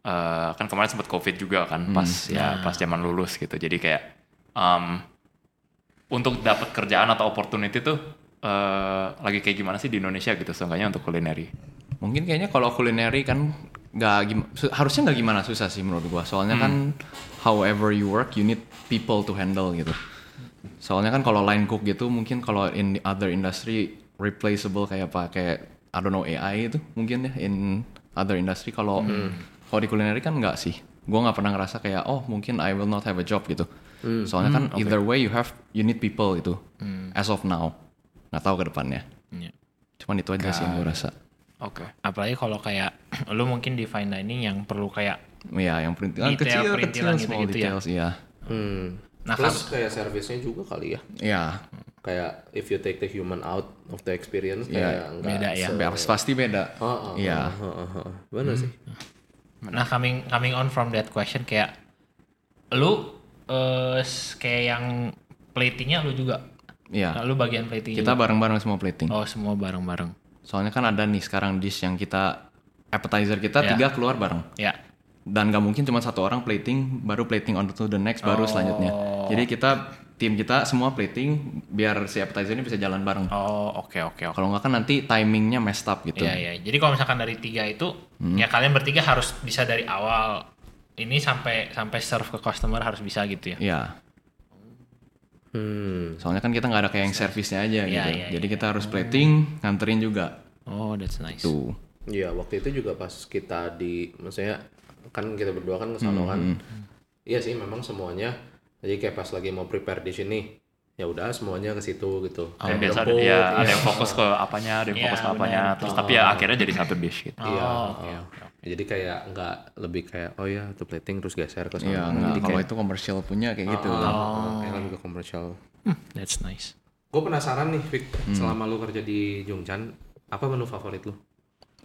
A: eh, kan kemarin sempat covid juga kan pas ya pas zaman lulus gitu, jadi kayak em, untuk dapat kerjaan atau opportunity tuh eh, lagi kayak gimana sih di Indonesia gitu seenggaknya untuk kulineri.
D: Mungkin kayaknya kalau kulineri kan nggak gim- su- harusnya nggak gimana susah sih menurut gua. Soalnya kan however you work you need people to handle gitu. Soalnya kan kalau line cook gitu mungkin kalau in the other industry replaceable kayak pakai I don't know AI itu mungkin ya in other industry kalau kalau di kulineri kan nggak sih. Gua nggak pernah ngerasa kayak oh mungkin I will not have a job gitu. Soalnya kan either way you have you need people gitu. As of now nggak tahu ke depannya.
C: Iya.
D: Cuman itu aja sih yang gua rasa.
A: Oke.
C: apalagi kalau kayak lu mungkin di fine dining yang perlu kayak
D: Iya, yang
C: Detail,
D: perintilan kecil, kecil,
C: perintilan
D: small
C: gitu-gitu ya.
D: details, iya.
B: Hmm.
C: Nah,
B: Plus kayak servisnya juga kali ya.
D: Iya,
B: Kayak if you take the human out of the experience kayak
D: Iya,
B: enggak
C: beda ya.
D: Tapi harus pasti beda.
B: Oh, oh,
D: Iya.
B: oh, oh, oh, oh. Bener
C: Hmm.
B: sih.
C: nah coming coming on from that question kayak lu eh, s- kayak yang platingnya lu juga Nah,
D: Iya.
C: lu bagian plating
D: Kita bareng-bareng semua plating.
C: oh semua bareng-bareng
D: Soalnya kan ada nih sekarang dish yang kita appetizer kita
C: Iya.
D: tiga keluar bareng.
C: ya
D: Dan nggak mungkin cuma satu orang plating, baru plating on to the next, baru selanjutnya.
C: Oh.
D: Jadi kita tim kita semua plating biar si appetizer ini bisa jalan bareng.
C: oh oke oke oke
D: Kalau nggak kan nanti timingnya messed up gitu.
C: Iya iya. Jadi kalau misalkan dari tiga itu, ya kalian bertiga harus bisa dari awal ini sampai sampai serve ke customer harus bisa gitu ya.
D: Iya.
B: Hmm.
D: Soalnya kan kita nggak ada kayak yang servisnya aja gitu.
C: iya,
D: Jadi kita harus plating, nganterin juga.
C: Oh that's nice.
D: Tuh.
B: Iya, waktu itu juga pas kita di maksudnya kan kita berdua kan ke sana kan. Iya sih memang semuanya. Jadi kayak pas lagi mau prepare di sini, ya udah semuanya ke situ gitu.
D: Oh.
A: Dan
B: Kayak
A: biasa ada,
B: berebut,
A: ya, ada yang fokus ke apanya, ada yang
C: Iya,
A: fokus ke
C: benar.
A: apanya, terus tapi ya akhirnya jadi satu dish gitu.
B: Iya.
C: Oh,
B: heeh. Jadi kayak nggak lebih kayak oh ya tuh plating terus geser ke sana.
D: Iya,
B: Gitu. Hmm, Jadi
D: nggak, kalau
B: kayak, Ah,
D: itu komersial punya kayak gitu.
B: heeh, heeh, kayak lebih ke komersial.
C: That's nice.
B: Gue penasaran nih, Vic,
D: Hmm.
B: selama lu kerja di Jongchan, apa menu favorit lu?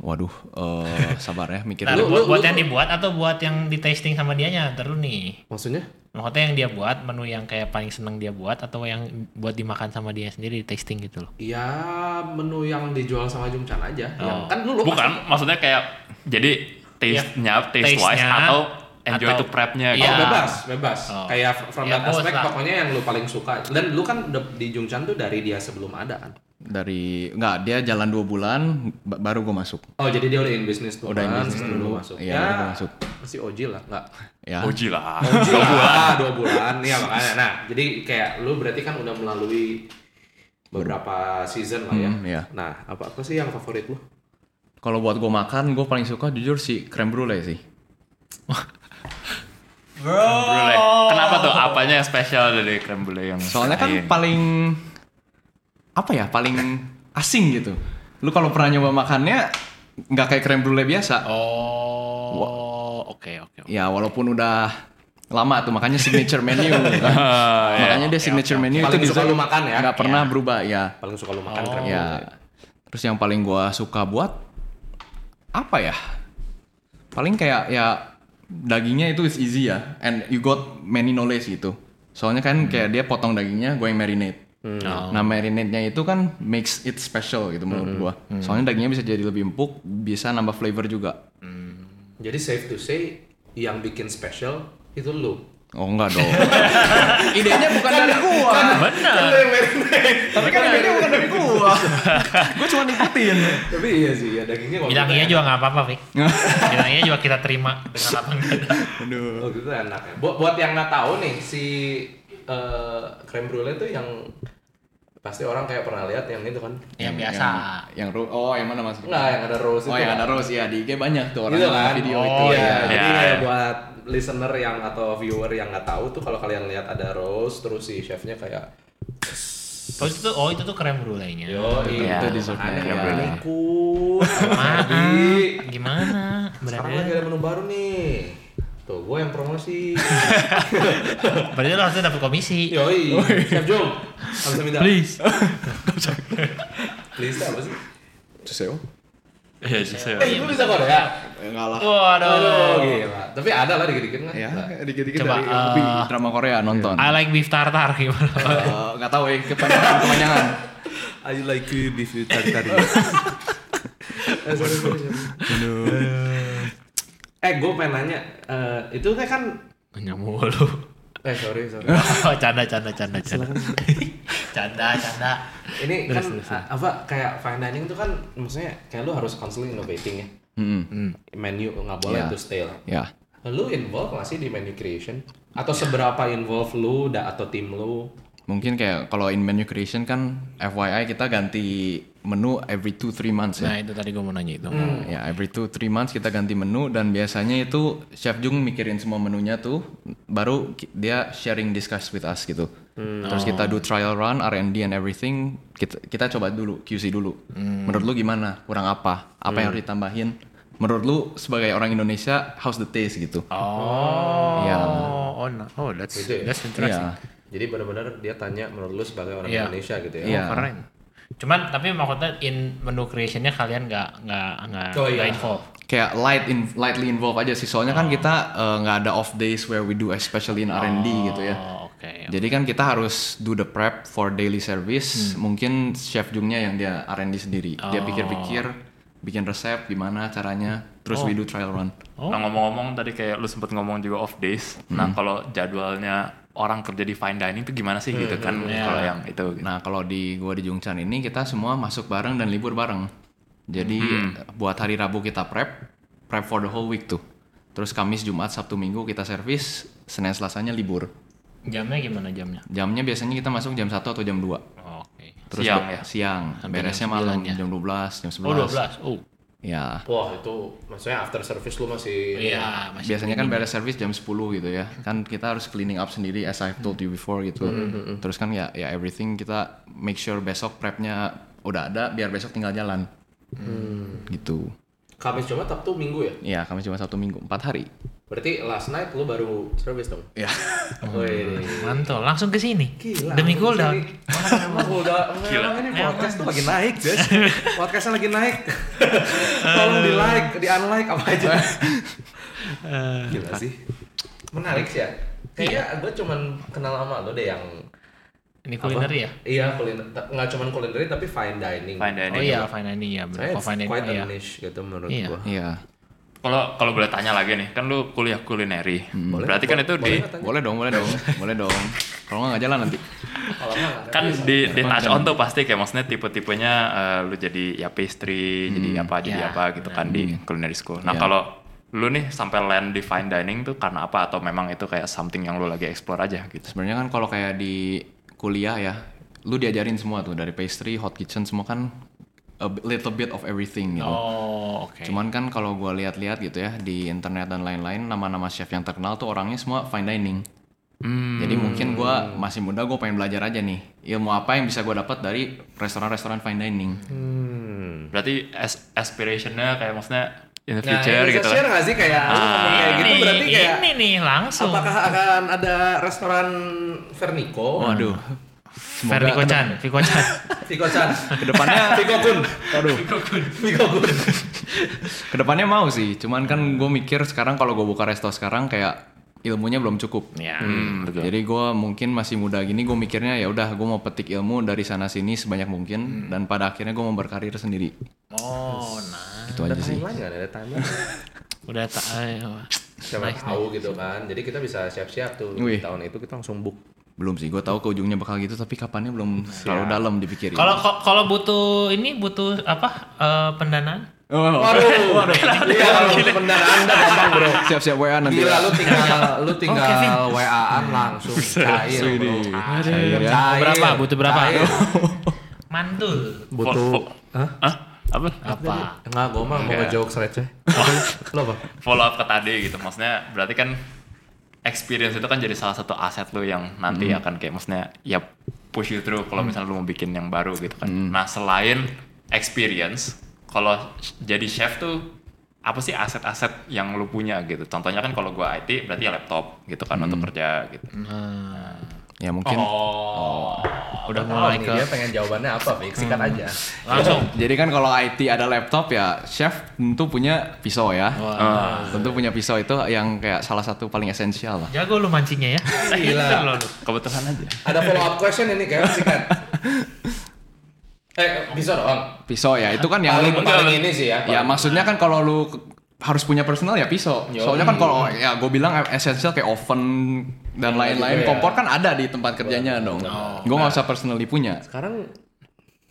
D: Waduh, eh, sabar ya mikir
C: Ntar
B: Lu-
C: buat,
B: lu-
C: buat
B: lu-
C: yang dibuat atau buat yang di tasting sama dianya ntar lu nih.
B: Maksudnya?
C: Maksudnya yang dia buat menu yang kayak paling seneng dia buat atau yang buat dimakan sama dia sendiri di tasting gitu loh.
B: Ya menu yang dijual sama Jongchan aja. Yang kan lu lu
A: Oh. Bukan, maksudnya kayak jadi taste-nya, taste wise
C: Iya, taste-nya,
A: atau enjoy
C: atau-
A: to prep-nya
B: Oh,
A: gitu.
C: Iya.
B: bebas, bebas.
C: Oh.
B: Kayak from
C: Ya,
B: that
C: bos
B: aspect
C: lah.
B: pokoknya yang lu paling suka. Dan lu kan udah di Jungchan tuh dari dia sebelum ada kan.
D: dari nggak dia jalan dua bulan ba- baru gue masuk.
B: Oh, jadi dia udah in business tuh.
D: Udah in
B: kan,
D: business
B: sebelum
D: dulu.
B: lu masuk.
D: Iya,
B: ya,
D: udah masuk.
B: Masih Oji lah, enggak.
D: Ya,
B: Oh.
A: Uji lah.
C: Oh.
B: Oji dua bulan, dua bulan. Iya, makanya. Nah, jadi kayak lu berarti kan udah melalui beberapa season lah ya.
D: Hmm, iya.
B: Nah, apa apa sih yang favorit lu?
D: kalau buat gue makan, gue paling suka jujur si creme brulee sih.
C: Bro.
A: Brulee. Kenapa tuh? Apanya yang spesial dari creme brulee yang Eh,
D: Soalnya kan
B: Iya,
A: lain?
D: paling apa ya, paling asing gitu. Lu kalau pernah nyoba makannya nggak kayak creme brulee biasa.
C: Oh. Oke oke. oke.
D: Ya walaupun udah lama tuh makanya signature menu. gitu.
B: Iya,
A: iya.
D: makanya dia signature menu itu
B: Paling suka
D: dessert
B: lu makan ya?
D: nggak pernah berubah ya.
B: Paling suka lu makan kan? creme brulee.
D: Ya. Terus yang paling gua suka buat apa ya? Paling kayak ya dagingnya itu is easy ya and you got many knowledge gitu. Soalnya kan kayak dia potong dagingnya gua yang marinate. Nah, marinate-nya itu kan makes it special gitu menurut gua. Soalnya dagingnya bisa jadi lebih empuk, bisa nambah flavor juga.
B: Jadi safe to say yang bikin special itu lu.
D: Oh enggak dong. Idenya
B: Kan
D: bukan dari gua.
C: Benar.
D: Tapi kan idenya bukan dari gua. gua cuma ikutin.
B: Tapi iya sih, ya dagingnya waktu
C: Bilang
B: itu
C: iya
B: enak.
C: juga nggak apa-apa, Fik. Bilang iya juga kita terima dengan lapang dada.
D: Aduh.
B: Waktu itu enak ya. Buat, buat yang nggak tahu nih, si eh creme brulee tuh yang pasti orang kayak pernah lihat yang itu kan.
D: Ya, iya.
C: Yang biasa.
D: Yang, yang ro- oh yang mana mas?
B: Enggak, yang ada rose itu.
D: Oh
B: kan.
D: yang ada rose ya di IG banyak tuh orang
B: Gitu
D: yang
B: kan?
D: video
C: Oh,
D: itu.
B: Iya,
A: iya.
B: jadi
A: Iya,
B: kayak
A: iya.
B: buat listener yang atau viewer yang nggak tahu tuh kalau kalian lihat ada rose terus si chefnya kayak
C: Oh itu tuh, oh itu tuh krem brulee-nya.
B: yo iya,
D: itu
B: ada
D: dessertnya, iya.
B: yang
C: Maaf,
B: Abi.
C: gimana?
B: Sekarang lagi
C: Berarti,
B: ada menu baru nih. Tuh, gue yang promosi.
C: berarti lo harusnya dapat komisi.
B: Yoi, Chef Jung. Harus minta.
C: Please.
B: Please apa sih?
D: Cuseo?
A: Iya, just say.
B: Eh, lu bisa Korea?
D: Enggak lah.
B: Aduh,
C: Waduh.
B: gila. Tapi ada lah dikit-dikit kan.
D: Ya dikit-dikit
C: Coba,
D: dari
C: eh,
D: hobi drama Korea nonton.
C: I like beef tartar gimana?
D: Eh, Nggak tahu ya kepanjangan kepanjangan.
B: I like beef tartar. Eh, gue pengen nanya, eh, itu teh kan,
C: Punya mulu.
B: eh sorry sorry,
C: Oh, canda canda canda canda. canda canda.
B: ini
C: Terus,
B: kan
C: terus,
B: a- apa kayak fine dining itu kan maksudnya kayak lu harus constantly innovating ya,
D: Mm-mm.
B: menu nggak boleh
D: Iya.
B: tuh stale.
D: Hmm. Ya.
B: Lu involve nggak sih di menu creation? Atau seberapa involve lu da, atau tim lu?
D: Mungkin kayak kalau in menu creation kan FYI kita ganti menu every 2-3 months ya.
C: Nah itu tadi gue mau nanya itu.
D: Ya every 2-3 months kita ganti menu dan biasanya itu Chef Jung mikirin semua menunya tuh baru ki- dia sharing discuss with us gitu. Terus kita do trial run, R&D and everything, kita, kita coba dulu QC dulu. Menurut lu gimana? Kurang apa? Apa yang harus ditambahin? Menurut lu sebagai orang Indonesia how's the taste gitu?
C: Oh.
D: Iya.
C: Oh, no. oh that's
B: Gitu ya?
C: that's interesting.
D: Iya.
B: Jadi benar-benar dia tanya menurut lu sebagai orang
C: Iya.
B: Indonesia gitu ya.
D: Iya.
C: Oh, keren. Cuman tapi maksudnya in menu creationnya kalian nggak nggak nggak
B: Oh,
C: nggak
B: iya.
C: involve.
D: Kayak light in, lightly involved aja sih. Soalnya kan kita eh, nggak ada off days where we do especially in R&D gitu ya.
C: Oh oke.
D: Jadi kan kita harus do the prep for daily service. Mungkin chef Jungnya yang dia R&D sendiri. Dia pikir-pikir, bikin resep gimana caranya. Terus we do trial run.
C: Oh.
A: Nah ngomong-ngomong tadi kayak lu sempet ngomong juga off days. Nah
D: Hmm.
A: kalau jadwalnya orang kerja di fine dining tuh gimana sih gitu
C: Hmm,
A: kan
C: iya.
A: kalau yang itu.
C: Oh,
A: gitu.
D: Nah kalau di gua di Jungchan ini kita semua masuk bareng dan libur bareng. Jadi buat hari Rabu kita prep, prep for the whole week tuh. Terus Kamis, Jumat, Sabtu, Minggu kita servis, Senin, Selasanya libur.
C: Jamnya gimana jamnya?
D: Jamnya biasanya kita masuk jam 1 atau jam 2.
C: Oh, oke.
D: Terus
A: Siang
D: be-
A: ya?
D: Siang. Beresnya malam jam 12, jam 11.
C: Oh 12. Oh.
D: Ya.
B: Wah itu maksudnya after service lu masih ya?
C: Iya, masih
D: biasanya kan beres service jam 10 gitu ya kan kita harus cleaning up sendiri as I've told you before gitu terus kan ya ya everything kita make sure besok prepnya udah ada biar besok tinggal jalan gitu
B: Kamis Jumat Sabtu Minggu ya.
D: ya kami cuma satu minggu empat hari
B: Berarti last night lu baru service dong.
A: Iya.
D: ya
B: Wih.
C: Mantul, langsung ke sini.
B: Gila.
C: Demi
B: aku
C: cooldown.
B: sendiri. Mana nama cooldown?
A: Gila.
B: Memang ini podcast tuh lagi naik, guys. Podcastnya lagi naik. Tolong di like, di unlike apa aja. Gila sih. Menarik sih ya. Kayaknya
A: Iya.
B: gue cuman kenal sama lo deh yang
C: Ini kuliner ya?
B: iya kuliner ta- nggak cuman kuliner tapi fine dining.
A: Fine dining.
C: Oh iya, fine dining ya. Benar,
B: Saya
C: fine dining
B: quite
C: ya.
B: a niche gitu menurut
C: Iya.
B: gua.
D: iya
A: Kalau kalau boleh tanya lagi nih, kan lu kuliah kulineri.
D: Hmm.
B: Boleh.
A: Berarti kan
B: Bo-
A: itu
B: boleh
A: di
B: nggak tanya?
D: boleh dong boleh dong boleh dong kalau nggak nggak jalan nanti
B: Kalau nggak, nggak.
A: kan di,
B: Iya.
A: di touch on tuh pasti kayak maksudnya tipe-tipenya eh, lu jadi ya pastry, jadi
B: Hmm.
A: apa jadi
C: Ya,
A: apa gitu kan di
B: iya.
A: culinary school. Nah,
D: Ya.
A: kalau lu nih sampai land di fine dining tuh karena apa atau memang itu kayak something yang lu lagi explore aja gitu.
D: sebenarnya kan kalau kayak di kuliah ya lu diajarin semua tuh dari pastry hot kitchen semua kan a little bit of everything gitu
C: Oh, oke.
D: Cuman kan kalau gua lihat-lihat gitu ya di internet dan lain-lain nama-nama chef yang terkenal tuh orangnya semua fine dining. Jadi mungkin gua masih muda gue pengen belajar aja nih ilmu apa yang bisa gua dapat dari restoran-restoran fine dining.
B: Hmm.
A: Berarti as aspirationnya kayak maksudnya in the
B: Nah,
A: future
B: bisa
A: gitu
B: share
A: kan.
B: nggak sih kayak lu ngomong kayak gitu
C: Nah, Ini-
B: berarti kayak
C: ini nih langsung.
B: apakah akan ada restoran Vernico?
D: Waduh.
C: Ferdi Kocan, Viko Chan.
B: Viko Chan.
D: Kedepannya,
B: Viko Kun.
D: aduh,
B: Viko Kun.
D: kedepannya mau sih. Cuman kan gue mikir sekarang kalau gue buka resto sekarang kayak ilmunya belum cukup. Gitu.
C: Ya.
A: Hmm, betul.
D: Jadi gue mungkin masih muda gini gue mikirnya ya udah gue mau petik ilmu dari sana sini sebanyak mungkin dan pada akhirnya gue mau berkarir sendiri.
C: Oh, nah.
D: Itu aja sih.
B: Timeline nggak ada timeline. Iya.
C: Udah tak eh, iya. ayo.
B: siapa tahu gitu kan jadi kita bisa siap-siap tuh
D: Wih.
B: tahun itu kita langsung book
D: Belum sih, gue tahu ke ujungnya bakal gitu, tapi kapannya belum terlalu dalam dipikirin.
C: Kalau ko- kalau butuh ini butuh apa eh, pendanaan?
D: Oh,
B: waduh iya kalau pendanaan dah gampang bro
D: siap-siap WA nanti. ya.
B: gila lu tinggal lu
C: Oh,
B: tinggal
C: Kevin.
B: WA-an langsung cair bro
D: Cair ya.
B: Cair,
C: Berapa? Butuh berapa?
B: cair.
C: Mantul.
A: Fo- fo-
B: Hah?
A: Hah? Apa?
C: Apa?
B: Enggak, gue mah mau
A: Enggak.
B: ngejok receh Lo apa?
A: Follow up ke tadi gitu, maksudnya berarti kan experience itu kan jadi salah satu aset lu yang nanti akan kayak maksudnya ya push you through kalau misalnya lu mau bikin yang baru gitu kan. Nah selain experience, kalau jadi chef tuh apa sih aset-aset yang lu punya gitu? Contohnya kan kalau gua IT berarti ya laptop gitu kan untuk kerja gitu.
D: Ya mungkin.
A: Oh.
C: Udah
B: Oh,
C: mulai
B: nih,
C: ke
B: dia pengen jawabannya apa, Fik? Sikat
C: Hmm.
B: aja
C: langsung.
D: Jadi kan kalau IT ada laptop ya chef tentu punya pisau ya.
C: Wah.
D: Eh, tentu punya pisau itu yang kayak salah satu paling esensial lah.
C: Jago lu mancingnya ya.
B: Gila.
C: Pinter lo lu.
A: Kebetulan aja.
B: Ada follow up question ini, Kevin, sikat Eh, bisa doang
D: Pisau ya, itu kan yang
B: Paling,
D: lu
B: paling ini sih ya
D: Ya maksudnya kan kalau lu ke- harus punya personal ya pisau.
B: Yo.
D: Soalnya kan kalau ya gue bilang esensial kayak oven dan
B: gitu
D: lain-lain
B: ya.
D: kompor kan ada di tempat kerjanya dong. Gue nggak usah personally punya.
B: Sekarang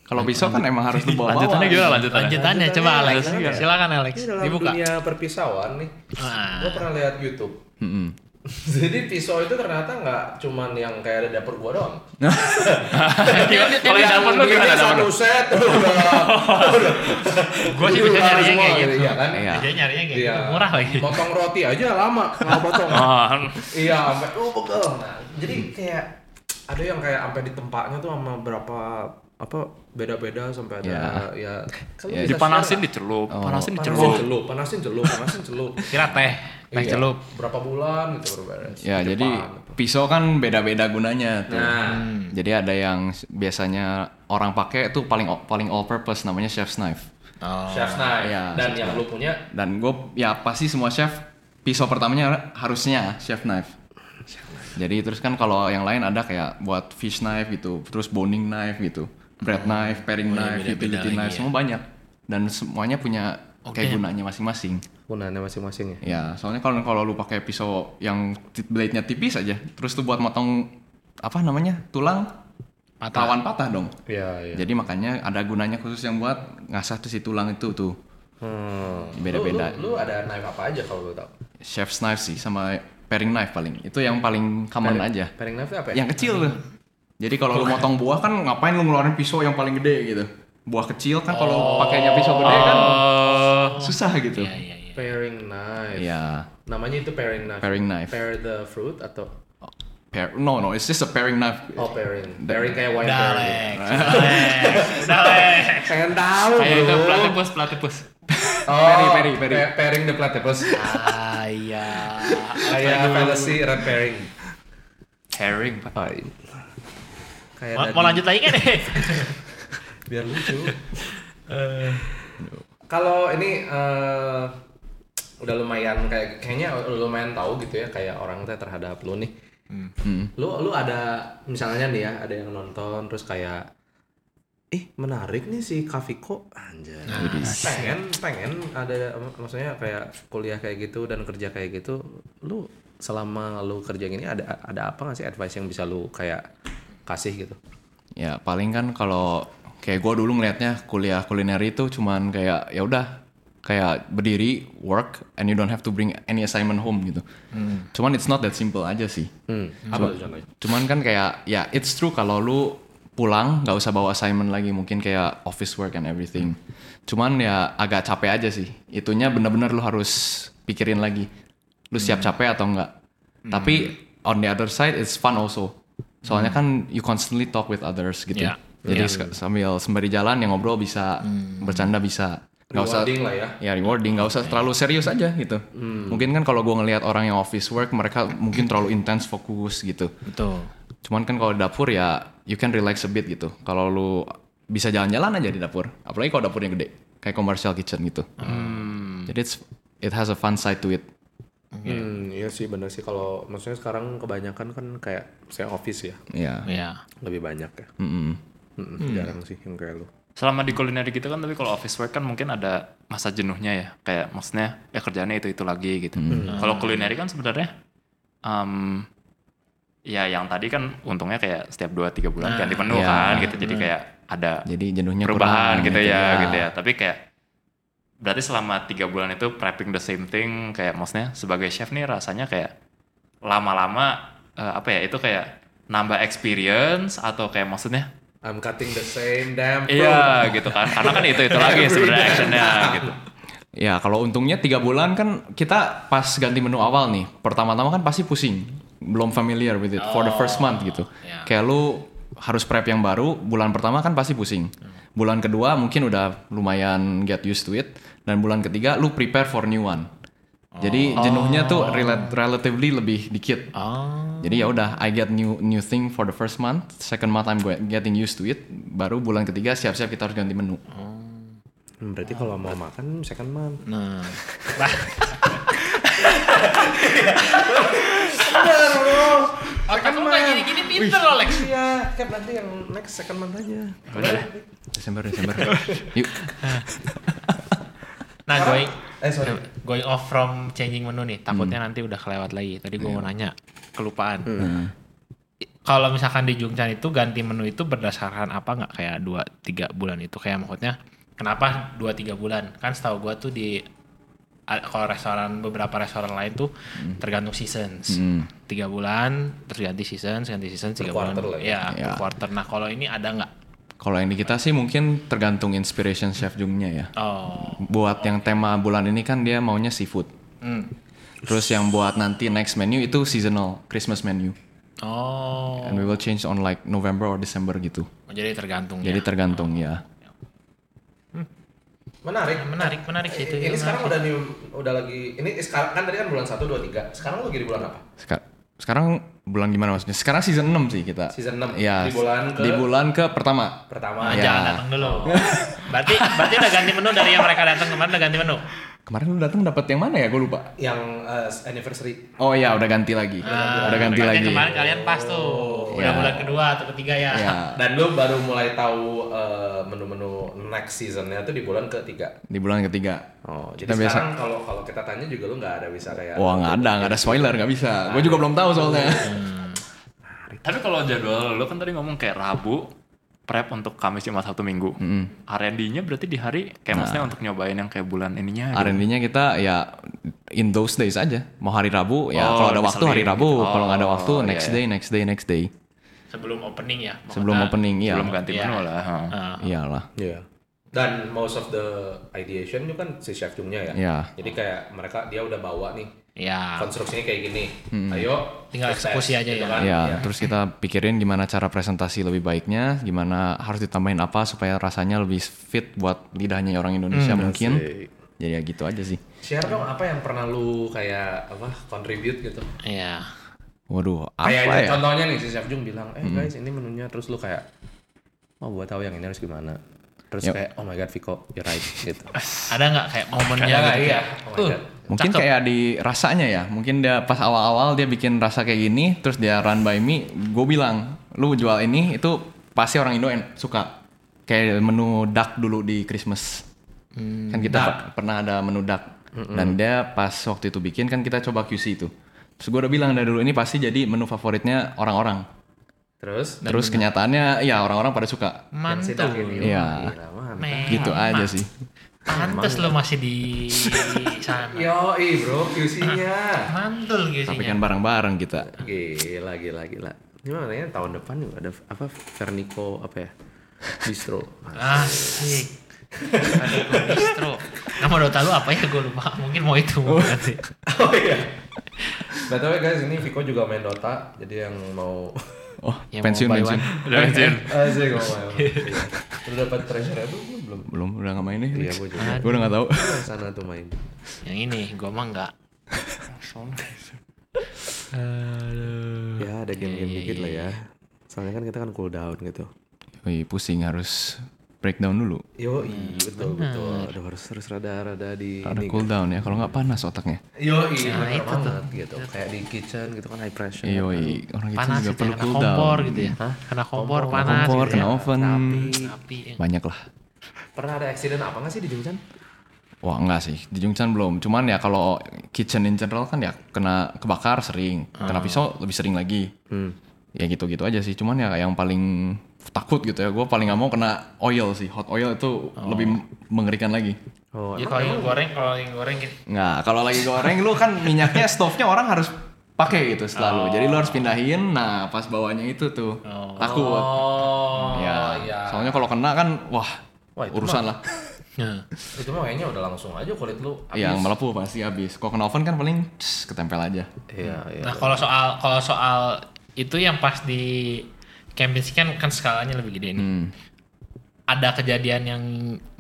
D: Kalau pisau kan emang harus lu bawa.
A: Lanjutannya gimana? Lanjutannya.
C: Lanjutannya coba Alex.
B: Lanjutannya.
C: Silakan Alex.
B: Iya, Ini dalam
C: Dibuka.
B: dunia perpisauan nih.
C: Ah. Hmm.
B: Gue pernah lihat YouTube.
D: Mm-mm.
B: Jadi pisau itu ternyata nggak cuman yang kayak ada dapur gua doang.
A: Kalau yang dapet lu
B: Ini
A: gimana dapet
B: satu
A: lu?
B: set. udah.
C: Gua
B: Udah
C: sih bisa
B: kelar
C: nyarinya
B: semua
C: kayak gitu.
B: Iya kan?
D: Iya.
C: Dia nyarinya kayak
B: Iya.
C: gitu, murah lagi. Ah.
B: Potong roti aja lama nggak potong.
A: Oh,
B: Iya, sampai oh pegel. Nah, jadi kayak ada yang kayak sampai di tempatnya tuh sama berapa apa beda-beda sampai
D: Iya.
B: ada ya, kan lu
D: Ya,
B: bisa
A: dipanasin
B: share lah.
A: dicelup, Oh, panasin
B: panasin
A: dicelup.
B: celup, panasin celup, panasin celup.
C: Kira teh, teh
B: Iya.
C: celup.
B: berapa bulan gitu baru beres.
D: Ya
B: Di
D: jadi
B: Jepang. gitu.
D: pisau kan beda-beda gunanya tuh.
B: nah
D: Jadi ada yang s- biasanya orang pakai itu paling o- paling all purpose namanya chef's knife.
B: Nah, chef's knife
D: Iya,
B: dan
D: chef's
B: yang lu punya
D: Dan gue ya pasti semua chef pisau pertamanya harusnya chef knife. Jadi terus kan kalau yang lain ada kayak buat fish knife gitu, terus boning knife gitu, bread
B: Hmm.
D: knife,
B: Oh,
D: pairing
B: iya,
D: knife, utility
B: ya.
D: knife, semua banyak. Dan semuanya punya kayak gunanya masing-masing.
B: gunanya masing-masing ya.
D: Ya, soalnya kalau kalau lu pakai pisau yang ti- blade-nya tipis aja, terus tuh buat motong apa namanya? tulang
C: Patah.
D: rawan patah dong.
B: Iya iya.
D: Jadi makanya ada gunanya khusus yang buat ngasah tuh si tulang itu tuh.
B: Hmm.
D: Beda-beda.
B: Lu, lu, lu ada knife apa aja kalau lu tahu?
D: Chef's knife sih sama paring knife paling. Itu yang paling common aja.
B: Paring knife apa ya?
D: Yang kecil tuh. Jadi kalau lu motong buah kan ngapain lu ngeluarin pisau yang paling gede gitu. Buah kecil kan kalau
B: Oh.
D: pakainya pisau gede kan
A: Oh.
D: susah gitu.
C: Iya, iya, iya.
B: Paring knife.
D: Iya,
B: Namanya itu paring knife.
D: Paring knife.
B: Pair the fruit atau
D: Pair- no no, it's just a paring knife.
B: oh pairing. Pairing kayak wine
C: Udah
B: pairing.
C: Alex. Udah Alex.
B: Pengen tahu
A: Kayak itu
B: bro.
A: platypus, platypus.
B: Oh,
D: Peri, peri, peri.
B: pa- Pairing the platypus.
C: Ah iya.
B: kayak fantasy red pairing.
A: Herring, Pak.
B: Kayak
C: Mau,
B: tadi.
C: mau lanjut lagi kan?
B: biar lucu. Eh, Kalau ini eh, udah lumayan kayak kayaknya udah lumayan tahu gitu ya kayak orang teh terhadap lu nih. Lu lu ada misalnya nih ya ada yang nonton terus kayak ih menarik nih si Kaviko anjay. pengen pengen ada mak- maksudnya kayak kuliah kayak gitu dan kerja kayak gitu. Lu selama lu kerja gini ada ada apa nggak sih advice yang bisa lu kayak kasih gitu?
D: Ya paling kan kalau kayak gue dulu ngelihatnya kuliah kuliner itu cuman kayak ya udah kayak berdiri work and you don't have to bring any assignment home gitu. Cuman it's not that simple aja sih.
B: Hmm. Apa tuh contohnya?
D: Cuman kan kayak ya it's true kalau lu pulang nggak usah bawa assignment lagi mungkin kayak office work and everything. Cuman ya agak capek aja sih. Itunya bener-bener lu harus pikirin lagi. Lu siap
C: Hmm.
D: capek atau enggak. Tapi on the other side it's fun also. Soalnya kan you constantly talk with others gitu.
C: Hmm. Yeah. Hmm.
D: Jadi sk- sambil sembari jalan yang ngobrol bisa, bercanda bisa. Nggak usah
B: Rewarding lah ya. Hmm.
D: ya rewarding nggak usah terlalu serius aja gitu mungkin kan kalau gue ngelihat orang yang office work mereka mungkin terlalu intens fokus gitu
C: Betul.
D: cuman kan kalau di dapur ya you can relax a bit gitu kalau lu bisa jalan-jalan aja di dapur apalagi kalau dapurnya gede kayak commercial kitchen gitu
C: Hmm.
D: jadi it's it has a fun side to it
B: Hmm, iya sih bener sih kalau maksudnya sekarang kebanyakan kan kayak saya office ya
D: ya
C: Iya.
B: lebih banyak ya.
D: Mm-mm.
B: Hmm. Mm-mm, Jarang sih yang kayak lu.
A: selama di culinary gitu kan tapi kalau office work kan mungkin ada masa jenuhnya ya kayak maksudnya ya kerjaannya itu itu lagi gitu kalau culinary kan sebenarnya em, ya yang tadi kan untungnya kayak setiap 2-3 bulan ganti menu
D: Iya.
A: kan gitu jadi kayak ada
D: Jadi jenuhnya
A: perubahan
D: kurang
A: gitu ya, gitu ya tapi kayak berarti selama tiga bulan itu prepping the same thing kayak maksudnya sebagai chef nih rasanya kayak lama-lama eh, apa ya itu kayak nambah experience atau kayak maksudnya
B: I'm cutting the same damn fruit.
A: Iya gitu kan, karena kan itu itu lagi sebenarnya actionnya gitu.
D: Ya kalau untungnya tiga bulan kan kita pas ganti menu awal nih, pertama-tama kan pasti pusing, belum familiar with it
A: Oh,
D: for the first month gitu.
C: ya.
D: Kayak lu harus prep yang baru, bulan pertama kan pasti pusing. Bulan kedua mungkin udah lumayan get used to it, dan bulan ketiga lu prepare for new one. Jadi
A: Oh.
D: jenuhnya tuh rela- relatively lebih dikit.
A: Oh.
D: Jadi ya udah, I get new new thing for the first month, second month I'm go- getting used to it, baru bulan ketiga siap-siap kita harus ganti menu.
B: Hmm, Berarti kalau mau makan second month.
C: Nah,
B: Bener loh.
C: otak lu kayak gini-gini pinter loh Lex.
B: Iya, kayak nanti yang next second month aja.
A: Udah deh.
D: Desember, Desember. Yuk.
C: Nah, going
B: Eh sorry.
C: going off from changing menu nih, takutnya nanti udah kelewat lagi. Tadi gue mau nanya, kelupaan. I- Kalau misalkan di Jungchan itu ganti menu itu berdasarkan apa nggak kayak 2 tiga bulan itu kayak maksudnya kenapa 2 tiga bulan? Kan setahu gua tuh di a- kalau restoran beberapa restoran lain tuh tergantung seasons. Tiga bulan terus ganti seasons, ganti seasons tiga bulan.
B: quarter lah ya.
C: ya, per
D: Ya.
C: quarter. Nah, kalau ini ada nggak?
D: Kalau yang di kita sih mungkin tergantung inspiration chef Jungnya ya.
C: Oh.
D: Buat yang tema bulan ini kan dia maunya seafood.
C: Hmm.
D: Terus yang buat nanti next menu itu seasonal Christmas menu.
C: Oh.
D: And we will change on like November or December gitu.
C: Jadi tergantung ya.
D: Jadi tergantung ya.
B: Menarik.
C: Iya, menarik, menarik sih itu.
B: Ini sekarang udah new, udah lagi ini sekarang kan tadi kan bulan 1 2 3. Sekarang lu lagi di bulan apa?
D: Seka- sekarang bulan gimana maksudnya? Sekarang season 6 sih kita.
B: Season 6.
D: Ya.
B: Di bulan ke-
D: di bulan ke pertama.
B: Pertama.
C: Ah,
D: Ya.
C: Jangan datang dulu. berarti berarti udah ganti menu dari yang mereka datang kemarin udah ganti menu.
D: Kemarin lu datang dapat yang mana ya? Gue lupa.
B: Yang eh, anniversary.
D: Oh ya, udah ganti lagi. udah ganti
C: Berarti
D: lagi.
C: Ah, Kemarin kalian pas tuh. Udah
D: Ya.
C: bulan kedua atau ketiga ya.
D: Ya.
B: Dan lu baru mulai tahu eh, menu-menu next seasonnya tuh di bulan ketiga.
D: Di bulan ketiga.
B: Oh, jadi
D: Kita biasa-
B: sekarang kalau kalau kita tanya juga lu nggak ada bisa kayak gitu.
D: Wah nggak ada, nggak ada spoiler, nggak bisa. Gue juga belum tahu soalnya.
A: Tapi kalau jadwal lo kan tadi ngomong kayak Rabu prep untuk Kamis Jumat Sabtu Minggu. R&D-nya berarti di hari kayak maksudnya untuk nyobain yang kayak bulan ininya. gitu.
D: R&D-nya kita ya in those days aja. Mau hari Rabu ya
A: Oh,
D: kalau ada
A: lebih
D: waktu
A: sering
D: hari Rabu,
A: gitu.
D: kalau nggak ada
A: Oh,
D: waktu
A: iya,
D: next
A: iya.
D: day, next day, next day.
C: Sebelum opening ya.
D: Sebelum
C: Maksudnya,
D: opening iya.
A: Belum ganti
C: Iya.
A: menu lah. ha.
C: eh,
D: Iyalah.
B: Iya. Dan most of the ideation itu kan si chef Jungnya ya.
D: Iya.
B: Jadi kayak mereka dia udah bawa nih
C: ya.
B: konstruksinya kayak gini. Ayo
C: Tinggal
B: kita
C: eksekusi
B: tes,
C: aja ya.
B: kan.
D: Ya, terus kita pikirin gimana cara presentasi lebih baiknya, gimana harus ditambahin apa supaya rasanya lebih fit buat lidahnya orang Indonesia mungkin. Jadi ya gitu aja sih.
B: Share dong apa yang pernah lu kayak apa contribute gitu.
C: Iya.
D: Waduh, apa
B: Kayak ini
D: ya?
B: contohnya nih si chef Jung bilang, "Eh guys, ini menunya." Terus lu kayak, "Oh, gua tahu yang ini harus gimana." Terus
D: Yep.
B: kayak, "Oh my god, Viko, you're right." gitu.
C: Ada nggak kayak momennya
B: Ada nggak?
C: gitu?
B: Iya.
C: kayak,
B: Oh my
C: "Tuh,
B: God."
D: Mungkin
C: cakep."
D: kayak di rasanya ya, mungkin dia pas awal-awal dia bikin rasa kayak gini, terus dia run by me, gue bilang, lu jual ini itu pasti orang Indo en- suka. Kayak menu duck dulu di Christmas.
C: Hmm,
D: kan kita pe- pernah ada menu duck. Dan dia pas waktu itu bikin kan kita coba QC itu. Terus gue udah bilang dari dulu ini pasti jadi menu favoritnya orang-orang.
B: Terus
D: Terus kenyataannya ya orang-orang pada suka.
B: yang si Dak
C: mantul.
B: ini.
D: Iya.
B: wah, gila, mantap.
D: Gitu aja sih.
C: Iya. Pantes lo masih di sana.
B: Yo, bro, QC-nya.
C: Mantul gitu
D: Tapi kan bareng-bareng kita.
B: Gila, gila, gila. Gimana ya tahun depan juga ada apa Vernico apa ya? Bistro.
C: Asik. Ada gua distro. Nama Dota lu apa ya? Gue lupa. Mungkin mau itu. nanti.
B: oh iya. By the way guys, ini Viko juga main Dota, jadi yang mau
D: Oh,
C: Ya, mau
D: pensiun
C: buy
D: pensiun.
A: Udah Jin.
B: Asik mau main. Udah dapat treasure apa gua belum?
D: Belum udah nggak main nih.
B: Iya, gue juga.
D: Gue udah nggak tahu.
B: Gua ke sana tuh main.
C: Yang ini gue mah enggak. Aduh.
B: Ya, ada game-game dikit lah ya. Soalnya kan kita kan cooldown gitu.
D: Wih, pusing harus breakdown dulu.
B: Yo, betul betul. Aduh, harus harus rada rada di
D: Ada
B: ini.
D: cooldown ya, kalau nggak panas otaknya.
B: Yo, iya, bener banget gitu. Kayak di kitchen gitu kan high pressure.
D: Yoi, orang itu
C: Panas
D: juga
C: gitu ya,
D: perlu
C: kena
D: cooldown.
C: kompor gitu ya. Kena kompor panas
D: Kompor,
C: gitu ya.
D: kena oven,
C: Tapi
D: banyak lah.
B: Pernah ada accident apa nggak sih di Jungchan?
D: Wah enggak sih, di Jungchan belum. Cuman ya kalau kitchen in general kan ya kena kebakar sering, kena
C: Ah.
D: pisau lebih sering lagi.
C: Hmm.
D: Ya gitu-gitu aja sih. Cuman ya yang paling takut gitu ya, gue paling nggak mau kena oil sih. Hot oil itu
C: Oh.
D: lebih mengerikan lagi.
B: Oh,
C: Ya kalau yang goreng, kalau yang goreng gini.
D: Nah, kalau lagi goreng lu kan minyaknya stove-nya orang harus pakai gitu selalu. Jadi lu harus pindahin. Nah, pas bawahnya itu tuh
C: Oh.
D: takut.
B: Oh,
D: ya.
B: iya.
D: Soalnya kalau kena kan wah,
B: Wah, itu
D: urusan lah.
C: Nah,
B: Itu mah kayaknya udah langsung aja kulit lu habis.
D: Yang Iya, melepuh pasti habis. Kalau kena oven kan paling tss, ketempel aja.
B: Iya, iya.
C: Nah, kalau soal kalau soal itu yang pas di Kempinski kan kan skalanya lebih gede nih.
D: Hmm.
C: Ada kejadian yang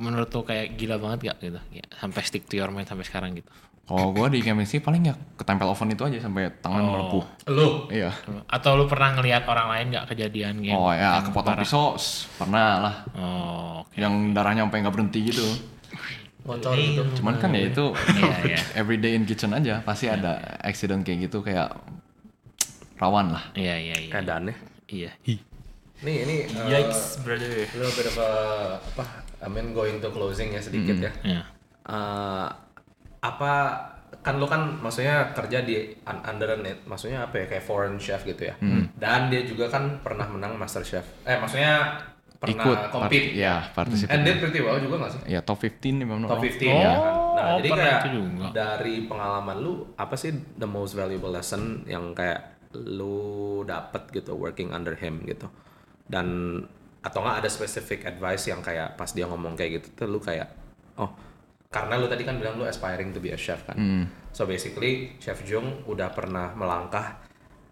C: menurut tuh kayak gila banget gak gitu? Ya, sampai stick to your mind sampai sekarang gitu.
D: Kalau gua di chemistry paling ya ketempel oven itu aja sampai
B: Oh.
D: tangan melepuh.
B: Lu
D: Iya.
C: Oh. Atau lu pernah ngelihat orang lain gak kejadian
B: Iya.
C: gitu?
D: Oh ya, kepotong pisau s- pernah lah.
C: Oh, oke.
D: Yang darahnya sampai nggak berhenti gitu.
B: bocor gitu.
D: Cuman kan ya itu
C: Iya, iya.
D: everyday in kitchen aja pasti
B: Iya,
D: ada accident kayak gitu kayak rawan lah.
C: Iya, iya, iya.
B: Keadaannya.
C: Iya.
B: Nih, ini uh,
C: Yikes, brother.
B: little bit of a- apa I mean going to closing ya sedikit
D: Hmm.
B: ya
C: Ya.
B: Eh, apa kan lu kan maksudnya kerja di un- under net maksudnya apa ya kayak foreign chef gitu ya
D: Hmm.
B: dan dia juga kan pernah menang master chef eh maksudnya pernah
D: Ikut part-
B: compete
D: ya
B: and
D: participate.
B: did pretty well juga nggak sih
D: Ya top 15 memang.
B: top 15
C: Oh,
B: ya kan nah
C: oh,
B: jadi
C: pernah
B: kayak
C: itu juga.
B: dari pengalaman lu apa sih the most valuable lesson yang kayak lu dapet gitu working under him gitu dan atau nggak ada specific advice yang kayak pas dia ngomong kayak gitu tuh lu kayak oh karena lu tadi kan bilang lu aspiring to be a chef kan
C: Hmm.
B: so basically chef Jung udah pernah melangkah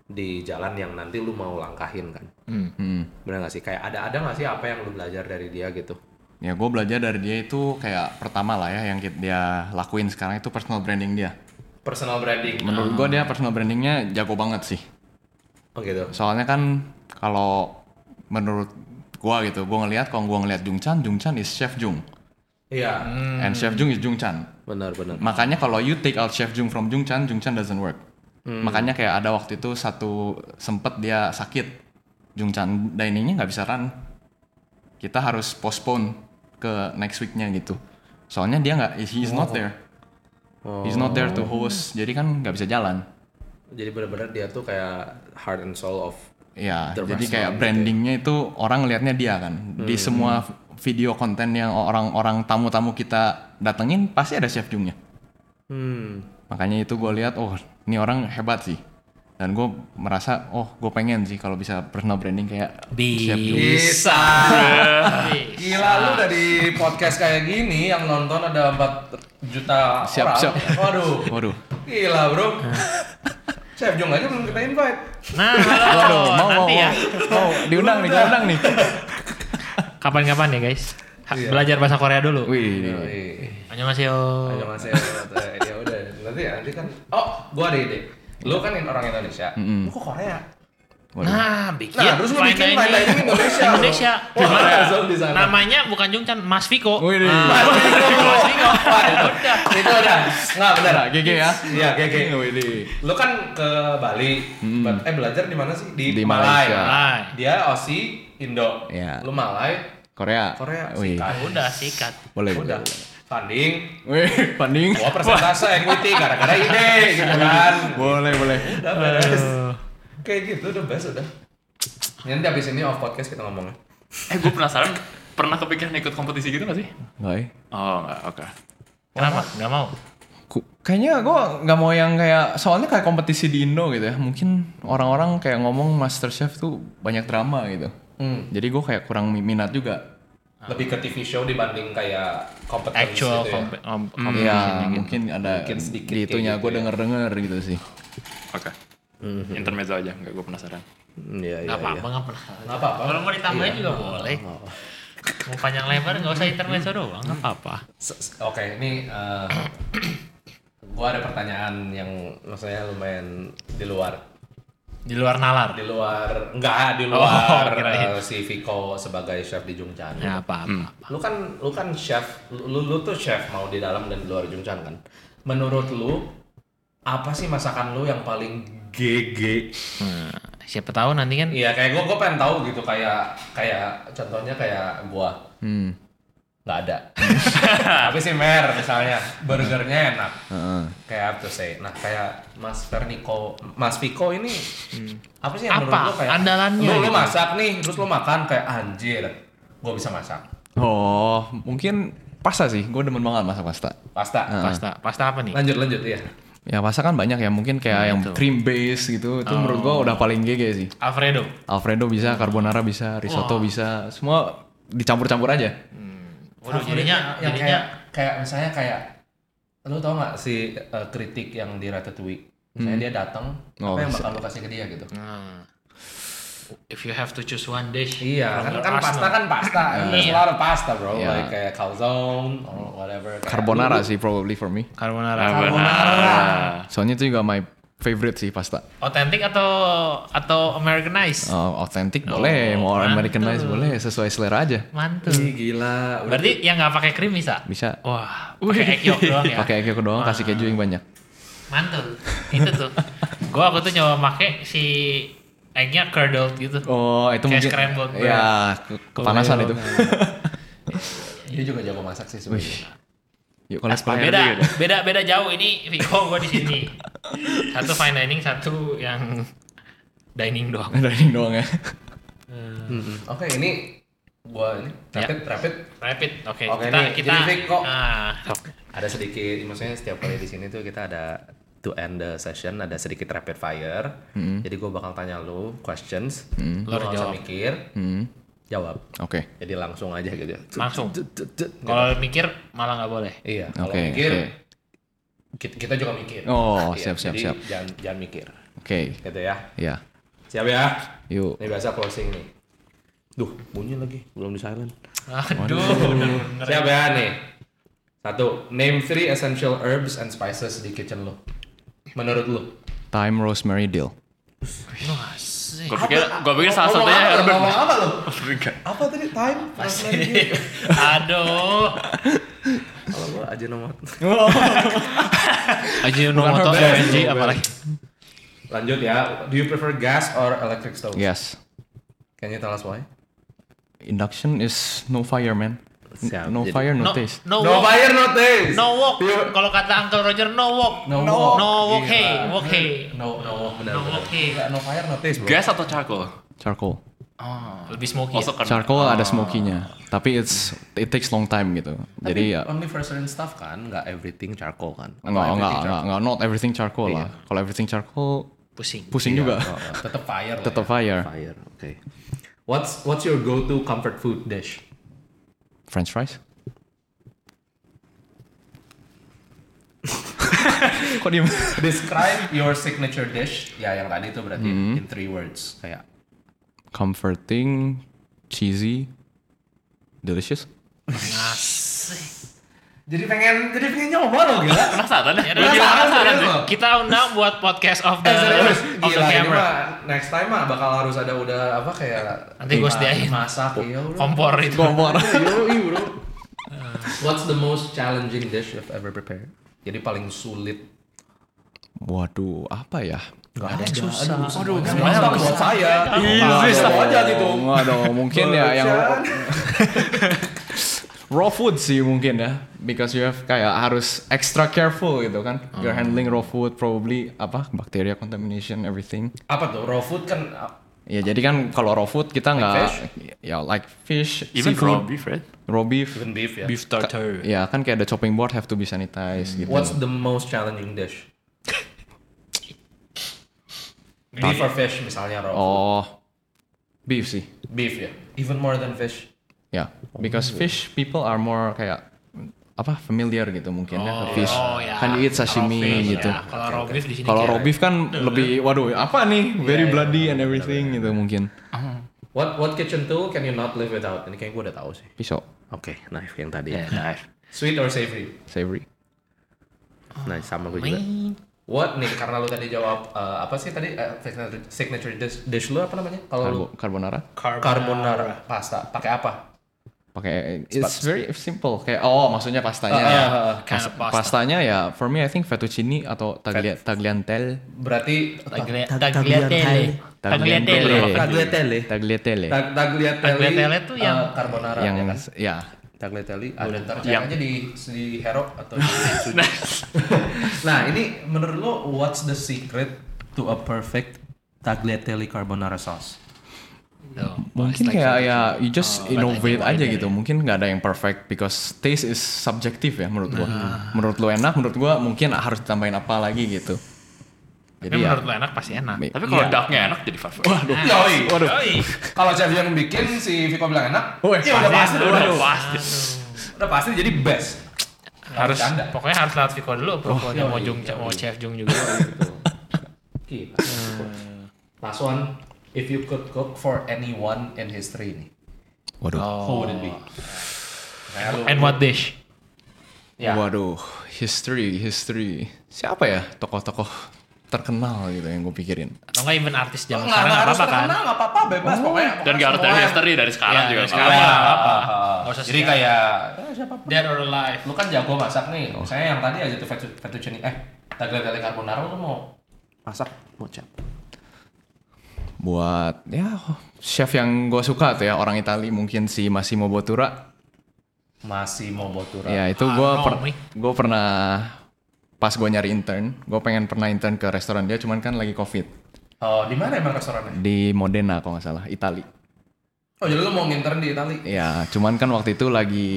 B: di jalan yang nanti lu mau langkahin kan
C: Hmm.
B: bener gak sih kayak ada ada nggak sih apa yang lu belajar dari dia gitu
D: Ya gue belajar dari dia itu kayak pertama lah ya yang ki- dia lakuin sekarang itu personal branding dia.
B: personal branding
C: Nah.
D: Menurut gue dia personal brandingnya jago banget sih.
B: oh gitu
D: Soalnya kan kalau menurut gua gitu, gua ngelihat kalau gua ngelihat Jungchan, Jungchan is Chef Jung
B: iya
D: and Chef Jung is Jungchan.
B: benar benar
D: Makanya kalau you take out Chef Jung from Jungchan, Jungchan doesn't work. Makanya kayak ada waktu itu satu sempet dia sakit. Jungchan diningnya nggak bisa run. Kita harus postpone ke next weeknya gitu. Soalnya dia nggak, he is not there. He's not there to host. Jadi kan nggak bisa jalan.
B: Jadi benar-benar dia tuh kayak heart and soul of
D: Ya,
B: The restaurant
D: jadi kayak
B: gitu ya. Hmm.
D: brandingnya itu orang ngelihatnya dia kan. Di semua video konten yang orang-orang tamu-tamu kita datengin pasti ada chef Jungnya.
B: hmm
D: Makanya itu gue lihat, oh ini orang hebat sih. Dan gue merasa, oh gue pengen sih kalau bisa personal branding kayak chef Jung.
B: bisa. Gila lu dari podcast kayak gini yang nonton ada 4 juta
D: Siap,
B: orang.
D: siap.
B: Waduh.
D: Waduh,
B: Gila, Bro. Chef Jong aja belum kita invite.
C: Nah,
A: Oh,
D: waduh, mau mau
C: nanti ya.
D: mau, mau diundang nih, diundang nih.
C: Kapan-kapan ya, guys. Ha- Belajar bahasa Korea dulu.
D: Iya. Wih,
B: Iya.
C: Annyeonghaseyo.
B: Ayo Mas ya. Ya udah, nanti ya nanti kan. Oh, gua ada ide. Lu kan orang Indonesia. Lu kok Korea?
D: waduh.
C: Nah, bikin
B: Nah, terus lu
C: fine
B: bikin
C: dining.
B: fine dining Indonesia. bro.
C: Indonesia.
B: Wah,
C: Gimana?
B: langsung di sana.
C: Namanya bukan Jungchan, Mas Viko.
D: Wih,
C: Ah, Mas Viko. Udah.
B: Itu udah. Nggak benar.
D: Nah, GG ya.
B: Iya, GG.
D: Wih, di-
B: Lu kan ke Bali, but- eh belajar di mana sih? Di, Ya.
D: Di
B: Malai.
D: Malaysia.
C: Malai.
B: Dia Aussie, Indo.
D: Iya.
B: Lu Malai,
D: Korea.
B: Korea,
D: Wih,
B: sikat.
C: Udah sikat.
D: boleh. boleh.
B: udah tanding,
D: Wih, banding.
B: gua persentase equity gara-gara ide gitu kan.
D: Boleh, boleh.
B: Udah beres.
C: Eh,
B: Kayak gitu udah best udah. Nanti abis ini off podcast kita ngomongnya.
A: Eh gue penasaran, pernah kepikiran ikut kompetisi gitu gak sih?
D: Nggak ya?
A: Oh enggak, oke.
C: Kenapa? Gak mau.
D: Ku- Kayaknya gue nggak mau yang kayak soalnya kayak kompetisi di Indo gitu ya. Mungkin orang-orang kayak ngomong MasterChef tuh banyak drama gitu. Jadi gue kayak kurang mi- minat juga.
B: Lebih ke TV show dibanding kayak competition
C: Ah. Actual
B: gitu ya.
C: comp- um,
D: Iya, mungkin ada
B: Mungkin sedikit
D: di
B: kayak
D: itunya
B: gitu
D: gue
B: ya.
D: denger-denger gitu sih.
A: Oke.
C: Mm-hmm.
A: Intermezzo aja, enggak gue penasaran.
B: Hmm, Iya, iya,
C: Gak
B: iya.
C: apa-apa, gak penasaran.
B: Nggak apa-apa. Iya,
C: Kalau mau ditambahin juga boleh. Mau panjang lebar gak usah intermezzo doang, gak apa-apa.
B: Se- se- Oke, ini eh, gua ada pertanyaan yang maksudnya lumayan di luar
C: Di luar nalar.
B: di luar enggak di
C: Oh,
B: luar
C: kirain.
B: eh, si Viko sebagai chef di Jungchan.
C: Ya apa-apa.
B: Lu kan lu kan chef, lu, lu tuh chef mau di dalam dan di luar Jungchan kan. Menurut lu apa sih masakan lu yang paling GG?
C: Hmm, Siapa tahu nanti kan
B: Iya kayak gua gua pengen tahu gitu kayak kayak contohnya kayak gua.
D: Hmm.
B: Nggak nggak ada. Tapi si Mer misalnya burgernya enak. Kayak apa tuh say. Nah kayak Mas Ferniko, Mas Piko ini apa sih yang
C: Hmm. Apa?
B: menurut lo kayak
C: Andalannya
B: Lu, lu
C: gitu.
B: masak nih, terus lu makan kayak anjir, gue bisa masak
D: Oh, mungkin pasta sih. Gue demen banget masak pasta.
B: pasta.
C: Pasta, pasta apa nih?
B: Lanjut lanjut iya.
D: Ya pasta kan banyak ya. Mungkin kayak yang cream base gitu. Itu menurut gue udah paling gege sih.
C: Alfredo.
D: Alfredo bisa, carbonara bisa, risotto bisa. Semua dicampur-campur aja.
C: Waduh,
B: Favorit
C: jadinya,
B: yang
C: jadinya
B: kayak, kayak misalnya kayak lu tau nggak si eh, kritik yang di Ratatouille misalnya dia datang
D: Oh,
B: apa yang
D: bisa.
B: bakal lu kasih ke dia gitu
C: Nah. If you have to choose one dish.
B: iya kan,
C: from your
B: kan pasta
C: arsenal.
B: kan pasta there's a lot of pasta bro
D: Iya.
B: like kayak calzone or whatever Kayak
D: Carbonara sih probably for me.
C: Carbonara.
A: Nah, Carbonara.
D: Soalnya itu juga my favorite sih pasta.
C: Authentic atau atau Americanized?
D: Oh, authentic boleh, mau
C: mantap.
D: Americanized boleh, sesuai selera aja.
C: Mantul.
E: Ih, gila. Udah
C: Berarti yang nggak pakai krim bisa?
D: Bisa.
C: Wah, pakai egg yolk doang ya.
D: Pakai keju doang, kasih keju yang banyak.
C: Mantul. Itu tuh. gua waktu itu nyoba pakai si eggnya curdled gitu.
D: Oh, itu
C: Kayak
D: mungkin.
C: scrambled bread.
D: Ya, ke- kepanasan itu.
B: dia juga jago masak sih sebenarnya
D: Yuk, kalau
A: Aspal.
C: beda,
B: ya.
A: Air juga.
C: beda, beda jauh. Ini Viko gua di sini. Satu fine dining, satu yang dining doang.
D: dining doang ya.
B: oke ini gua ini
D: Ya.
B: rapid rapid
C: Rapid, oke.
B: Oke,
C: kita,
B: nih,
C: kita,
B: jadi Viko.
C: Ah,
B: ada sedikit maksudnya setiap kali di sini tuh kita ada to end the session ada sedikit rapid fire jadi gua bakal tanya lu questions lu
C: Lu
B: nggak usah
C: jawab.
B: mikir
D: Hmm,
B: jawab
D: Oke.
B: jadi langsung aja gitu
C: langsung.
B: Tut, tut, tut.
C: Kalau mikir malah nggak boleh.
B: Iya, kalau
D: Oke,
B: mikir
D: oke.
B: kita, kita juga mikir.
D: Oh,
B: Iya,
D: siap, siap,
B: jadi
D: siap.
B: Jangan jangan mikir,
D: Oke,
B: gitu ya.
D: ya.
B: Siap ya.
D: Yuk.
B: Ini biasa closing nih. Duh, bunyi lagi, belum di silent.
C: Aduh, bener-bener.
B: Siap ya nih. Satu, name three essential herbs and spices di kitchen lo. Menurut lo?
D: Time rosemary dill.
A: Gue pikir, gue pikir salah
B: Ngomong apa,
A: satunya Herbert.
B: ngomong apa lo?
A: Enggak.
B: Apa tadi time?
C: Aduh.
B: Kalau gua aja nomor.
C: Ajinomoto
B: Benji,
C: OMG apalagi.
B: Lanjut ya. Do you prefer gas or electric stove?
D: Yes.
B: Can you tell us why?
D: Induction is no fire, man. N-
B: Siap,
D: No
B: jadi-
D: fire, no
C: No,
D: taste.
C: no,
B: No
C: walk.
B: fire, no taste.
C: No walk.
B: You-
C: Kalau kata Uncle Roger, no walk.
B: No walk.
C: No walk,
B: Gila.
C: hey. Walk, hey.
B: No, no, benar.
C: No walk, hey.
B: Nggak, no fire, no taste, bro.
A: Gas atau charcoal?
D: Charcoal.
C: Lebih smoky ya?
A: Masuk kan?
D: Charcoal ada smokinya, tapi it's it takes long time gitu. Jadi ya
B: Only for certain stuff kan, nggak everything charcoal kan? Atau
D: nggak nggak
B: everything
D: nggak
B: charcoal?
D: nggak not everything charcoal lah. Kalau everything charcoal
C: Pusing.
D: pusing juga.
B: Oh, oh, tetap fire lah
D: Tetap
B: ya.
D: fire.
B: Fire, oke. What's what's your go-to comfort food dish?
D: French fries. Kok diem?
B: Describe your signature dish. Ya, yang tadi itu berarti
D: Hmm.
B: in three words. Kayak
D: Comforting, cheesy, delicious.
B: jadi pengen jadi pengen nyoba loh gila.
A: Penasaran ya?
C: Ya,
A: Gua juga
C: udah, kita-
A: penasaran
B: serius
A: deh.
B: lo.
C: Kita undang buat podcast of the,
B: Eh, serius,
C: of the
B: gila ini
C: camera.
B: mah next time mah bakal harus ada udah apa kayak
C: Nanti gua
B: ma-
C: sediain.
B: masak iya bro.
C: Kompor itu.
B: Yoi, bro. What's the most challenging dish you've ever prepared? Jadi paling sulit
D: Waduh, apa ya?
B: Gak ada yang susah. Iya. Aduh,
A: semuanya
B: semuanya buat saya.
D: Nggak
B: Easy
D: dong,
B: aja gitu.
D: nggak dong. Mungkin ya yang raw food sih mungkin ya because you have kayak harus extra careful gitu kan you're handling raw food probably apa bacteria contamination everything
B: Apa tuh raw food kan uh,
D: ya jadi kan kalau raw food kita nggak
B: fish?
D: ya like fish
A: Even
D: seafood,
A: raw beef, right?
D: raw beef
B: even beef ya.
A: Beef tartar.
D: ya kan kayak the chopping board have to be sanitized gitu
B: What's the most challenging dish? beef or fish misalnya raw food.
D: oh beef sih
B: Beef ya. Even more than fish.
D: ya because fish people are more kayak apa familiar gitu mungkin ya ke fish
C: oh, ya.
D: kan you eat sashimi
C: Fish,
D: gitu
C: ya. Kalau raw beef di sini
D: Kalau
C: kayak-
D: raw beef kan lebih waduh apa nih
B: Iya,
D: very bloody and everything gitu mungkin
B: What what kitchen tool can you not live without? Ini kayak gue udah tahu sih.
D: pisau
B: Oke, knife yang tadi.
A: Yeah, knife.
B: Sweet or savory?
D: savory
B: Nice, sama gue juga. What nih karena lu tadi jawab uh, apa sih tadi uh, signature- signature dish, dish lu apa namanya? Kalau lu
D: Carbo- carbonara
B: carbonara pasta pakai apa?
D: pakai it's very simple kayak oh maksudnya pastanya
B: Ah, ah,
D: ya
B: ah.
D: Pas-
C: Kayak pasta.
D: pastanya ya for me I think fettuccine atau taglia tagliatelle
B: Berarti
C: Taglia- Tagliatelle. Tagliatelle.
B: tagliatelle.
D: tagliatelle
B: Eh. Tag- Tagliatelle.
C: Tagliatelle tuh
B: eh,
C: yang-
B: carbonara
D: yang
B: ya kan?
D: ya
B: Tagliatelle ada ntar caranya di di Hero atau di Suji.
A: Nah,
B: nah ini menurut lo what's the secret to a perfect tagliatelle carbonara sauce? Ah,
D: Mungkin kayak ya you just innovate aja gitu.
B: ya.
D: Mungkin nggak ada yang perfect because taste is subjective ya menurut gua.
B: Nah.
D: Menurut lu enak, menurut gua mungkin harus ditambahin apa lagi gitu. Jadi
C: Tapi
D: ya.
C: menurut lo enak pasti enak.
D: Mi-
A: tapi kalau ducknya enak jadi favorit. Waduh.
B: Yoi.
D: Waduh.
B: Kalau chef yang bikin si Viko bilang enak,
D: Weh,
B: ya udah pasti,
A: Udah
B: udah,
A: pasti.
B: udah pasti jadi best.
C: harus
B: Bercanda.
C: pokoknya harus lewat Viko dulu pokoknya mau
B: yoi,
C: Jung
B: yoi.
C: mau Chef Jung juga.
B: Gila. Last one, if you could cook for anyone in history nih,
D: Waduh.
B: who would it be? Kayak lu-
C: And what dish?
B: Ya.
D: Waduh, history, history. Siapa ya tokoh-tokoh terkenal gitu yang gue pikirin?
C: Atau nggak even artis
B: Nggak
C: zaman
B: nggak
C: sekarang nggak
B: harus
C: apa-apa kan?
B: terkenal, nggak apa-apa, bebas pokoknya.
A: Dan gak harus dari history dari sekarang
C: Iya,
A: juga.
C: dari
A: nggak
C: sekarang.
A: apa-apa.
C: Nggak usah
B: Jadi
C: sekian.
B: kayak
C: Eh, Dead or alive.
B: lu kan jago masak nih. Misalnya yang tadi aja tuh fettu- fettuccine eh tagliatelle carbonara lu mau masak bocah.
D: Buat ya chef yang gue suka tuh ya orang Itali mungkin si Massimo Bottura.
B: Masih mau botura.
D: Ya itu gue
C: Ah,
D: per,
C: Romy.
D: gua pernah pas gue nyari intern, gue pengen pernah intern ke restoran dia, cuman kan lagi covid
B: Oh, di mana emang restorannya?
D: di Modena kalau nggak salah, Itali.
B: Oh, jadi lu mau ngintern di Itali?
D: Ya cuman kan waktu itu lagi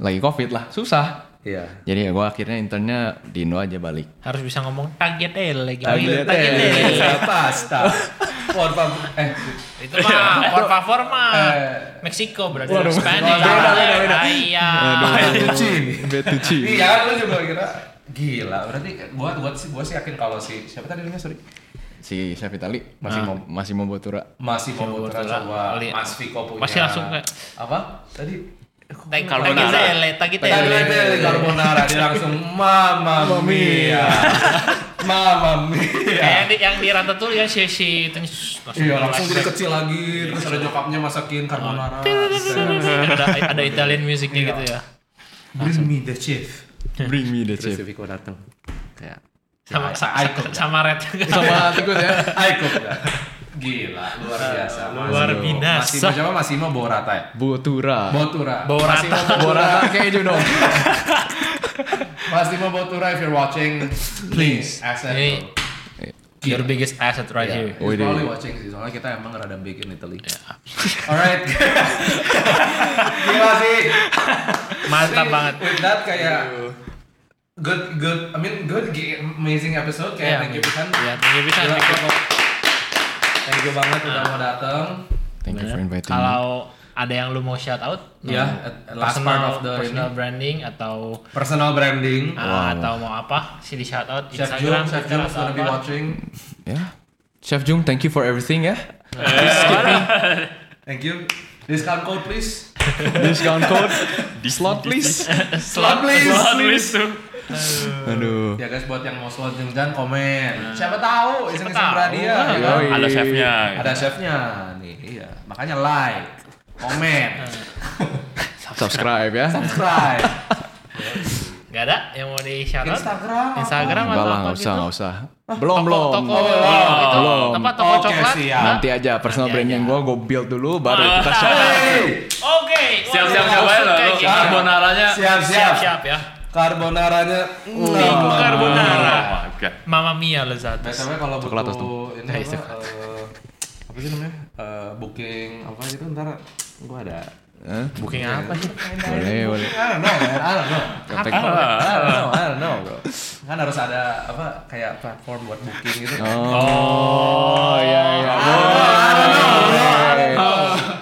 D: lagi covid lah, susah.
B: Iya.
D: Jadi ya gue akhirnya internnya di Indo aja balik.
C: Harus bisa ngomong target L lagi.
D: Tagliatelle.
C: Iya,
B: Pasta. Por favor. Eh,
C: Itu mah por favor mah.
B: Eh.
C: Meksiko berarti Spanish.
B: Beda, beda, beda.
C: Iya.
B: fettuccine.
D: Fettuccine.
B: Iya kan lu juga kira gila. Berarti gua gua sih gua sih yakin kalau si siapa tadi namanya sorry.
D: Si chef Itali masih mau masih mau Bottura.
B: Masih mau
C: Viko
B: botra
C: Botra.
B: coba
C: Li-
B: Mas Viko punya.
C: Pasti langsung kayak-
B: apa? Tadi
A: Carbonara.
C: Tagliatelle,
B: Tadi ada
C: Tagliatelle.
B: carbonara dia langsung mama mia. Mama
C: Kayak
B: mia.
C: yang di, yang di Ratatouille kan si si itu shh,
B: Ya. Iya Eh, langsung gitu. jadi
C: flashback.
B: kecil lagi terus ada nyokapnya masakin carbonara.
C: ada ada Italian
B: Iya.
C: musicnya gitu ya.
B: Bring me the chef.
D: Bring me the
B: Terus si
D: chef.
B: Viko datang. Kayak
C: Sama sa-
B: I cook.
C: sama Red juga.
D: Sama tikus ya.
B: Aiko Ah, Gila, luar biasa.
C: Luar binasa.
B: Masih siapa masih mau Borata ya?
D: Botura.
B: Botura.
C: Borata.
D: Botura keju dong.
B: Masih mau Botura if you're watching, please accept.
C: Ini
B: Ini Iya.
C: your biggest asset right
B: yeah.
C: here.
B: he's
D: Wih,
B: probably
D: deh.
B: watching sih, soalnya kita emang rada big in Italy.
C: Iya.
B: Alright. Gila sih.
C: Mantap
B: Tapi
C: banget.
B: With that kayak good good I mean good gi- amazing episode
C: Iya,
B: kayak thank you pisan.
C: Iya, thank you Ah. pisan.
B: Gila, Viko. Thank you banget udah mau datang.
D: Thank you for inviting me.
C: Kalau ada yang lu mau shout out,
B: Ya,
C: mau
B: at- at last
C: Hmm. personal,
B: part of the
C: personal branding atau
B: Personal branding.
C: ah, atau mau apa, sih di shout out
B: Chef
C: Instagram,
B: Jung, Chef
C: Twitter,
B: Jung is
C: atau
B: gonna be
C: apa.
B: watching.
D: Ya. Chef Jung, thank you for everything ya.
B: Thank you. Discount code please.
D: Discount code di slot please.
B: Slot please.
A: Wah, nulis tuh.
D: Aduh.
B: Ya guys buat yang mau slot jengjan komen. Nah. Siapa tahu Iya. iseng iseng
C: tahu?
B: beradia.
D: Yoi.
A: iya, Ada chefnya.
B: Iya. Ada chefnya nih. Iya. Makanya like, komen,
D: Subscribe ya.
B: subscribe,
C: Gak ada yang mau di shout out?
B: Instagram.
C: Instagram
D: Enggak
C: atau
D: lah,
C: apa
D: nggak
C: gitu?
D: usah, nggak usah. Belum, belum.
C: Toko, oh, itu
D: Belum.
C: apa toko
B: Oke,
C: coklat?
B: siap.
D: Nanti aja personal
C: Nanti
D: branding
C: aja.
D: gua gue build dulu baru kita shout out.
B: Hey,
C: Oke.
A: Siap-siap siap
C: waduh,
A: aja
C: kayak
A: loh.
C: gini.
A: Carbonaranya.
B: Siap siap.
C: Siap, siap ya.
B: Carbonaranya.
C: Minggu
B: Mm.
C: carbonara.
A: Oh my God.
C: Mamma mia lezat.
B: Biasanya kalau
D: Coklat
B: butuh ini
D: Eh,
B: apa, eh, apa sih namanya? Eh, booking apa gitu ntar gua ada.
D: Hah?
C: Booking apa ya? sih?
D: Boleh, boleh.
B: I don't know, man. I don't know. I
D: Kontak.
B: don't know, I don't know bro. Kan harus ada apa kayak platform buat booking gitu.
D: Oh, iya iya. Boleh.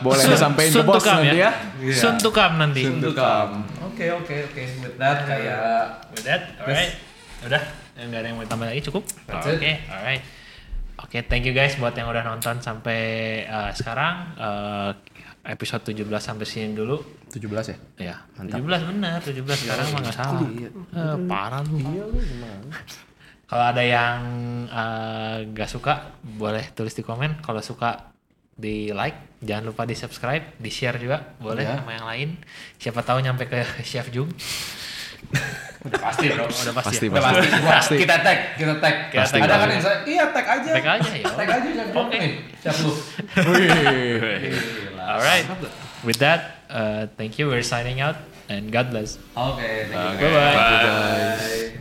D: Boleh disampaikan ke
C: Soon to
D: bos
C: come,
D: nanti ya.
B: Iya.
C: Soon to come nanti.
B: Tukam. Oke oke oke. With that kayak
C: With that, alright. Udah, nggak ada yang mau tambah lagi cukup.
B: That's
C: Oke, alright. Oke, thank you guys buat yang udah nonton sampai uh, sekarang uh, episode 17 sampai sini dulu.
B: 17 ya.
C: Ya, 17 bener, 17 sekarang mah nggak salah. Eh, parah lu. Kalau ada yang eh, nggak suka, boleh tulis di komen. Kalau suka di like, jangan lupa di subscribe, di share juga, boleh
B: Iya.
C: sama yang lain. Siapa tahu nyampe ke Chef Jung.
B: Udah pasti bro. Udah pasti.
D: Pasti,
B: Udah
D: pasti.
B: pasti. Gua-
D: Pasti.
B: Kita tag, kita tag.
C: Kita tag.
B: Ada kan yang saya, iya tag aja.
C: Tag aja, ya.
B: Tag aja siap
C: Oke.
B: nih. Siap lu.
D: Wih.
B: Gila.
C: Alright. With that,
B: uh, thank you. We're signing out, and God bless.
C: Oke, thank you.
F: Oke,
C: Nah,
B: Bye-bye.
F: bye.
C: Bye.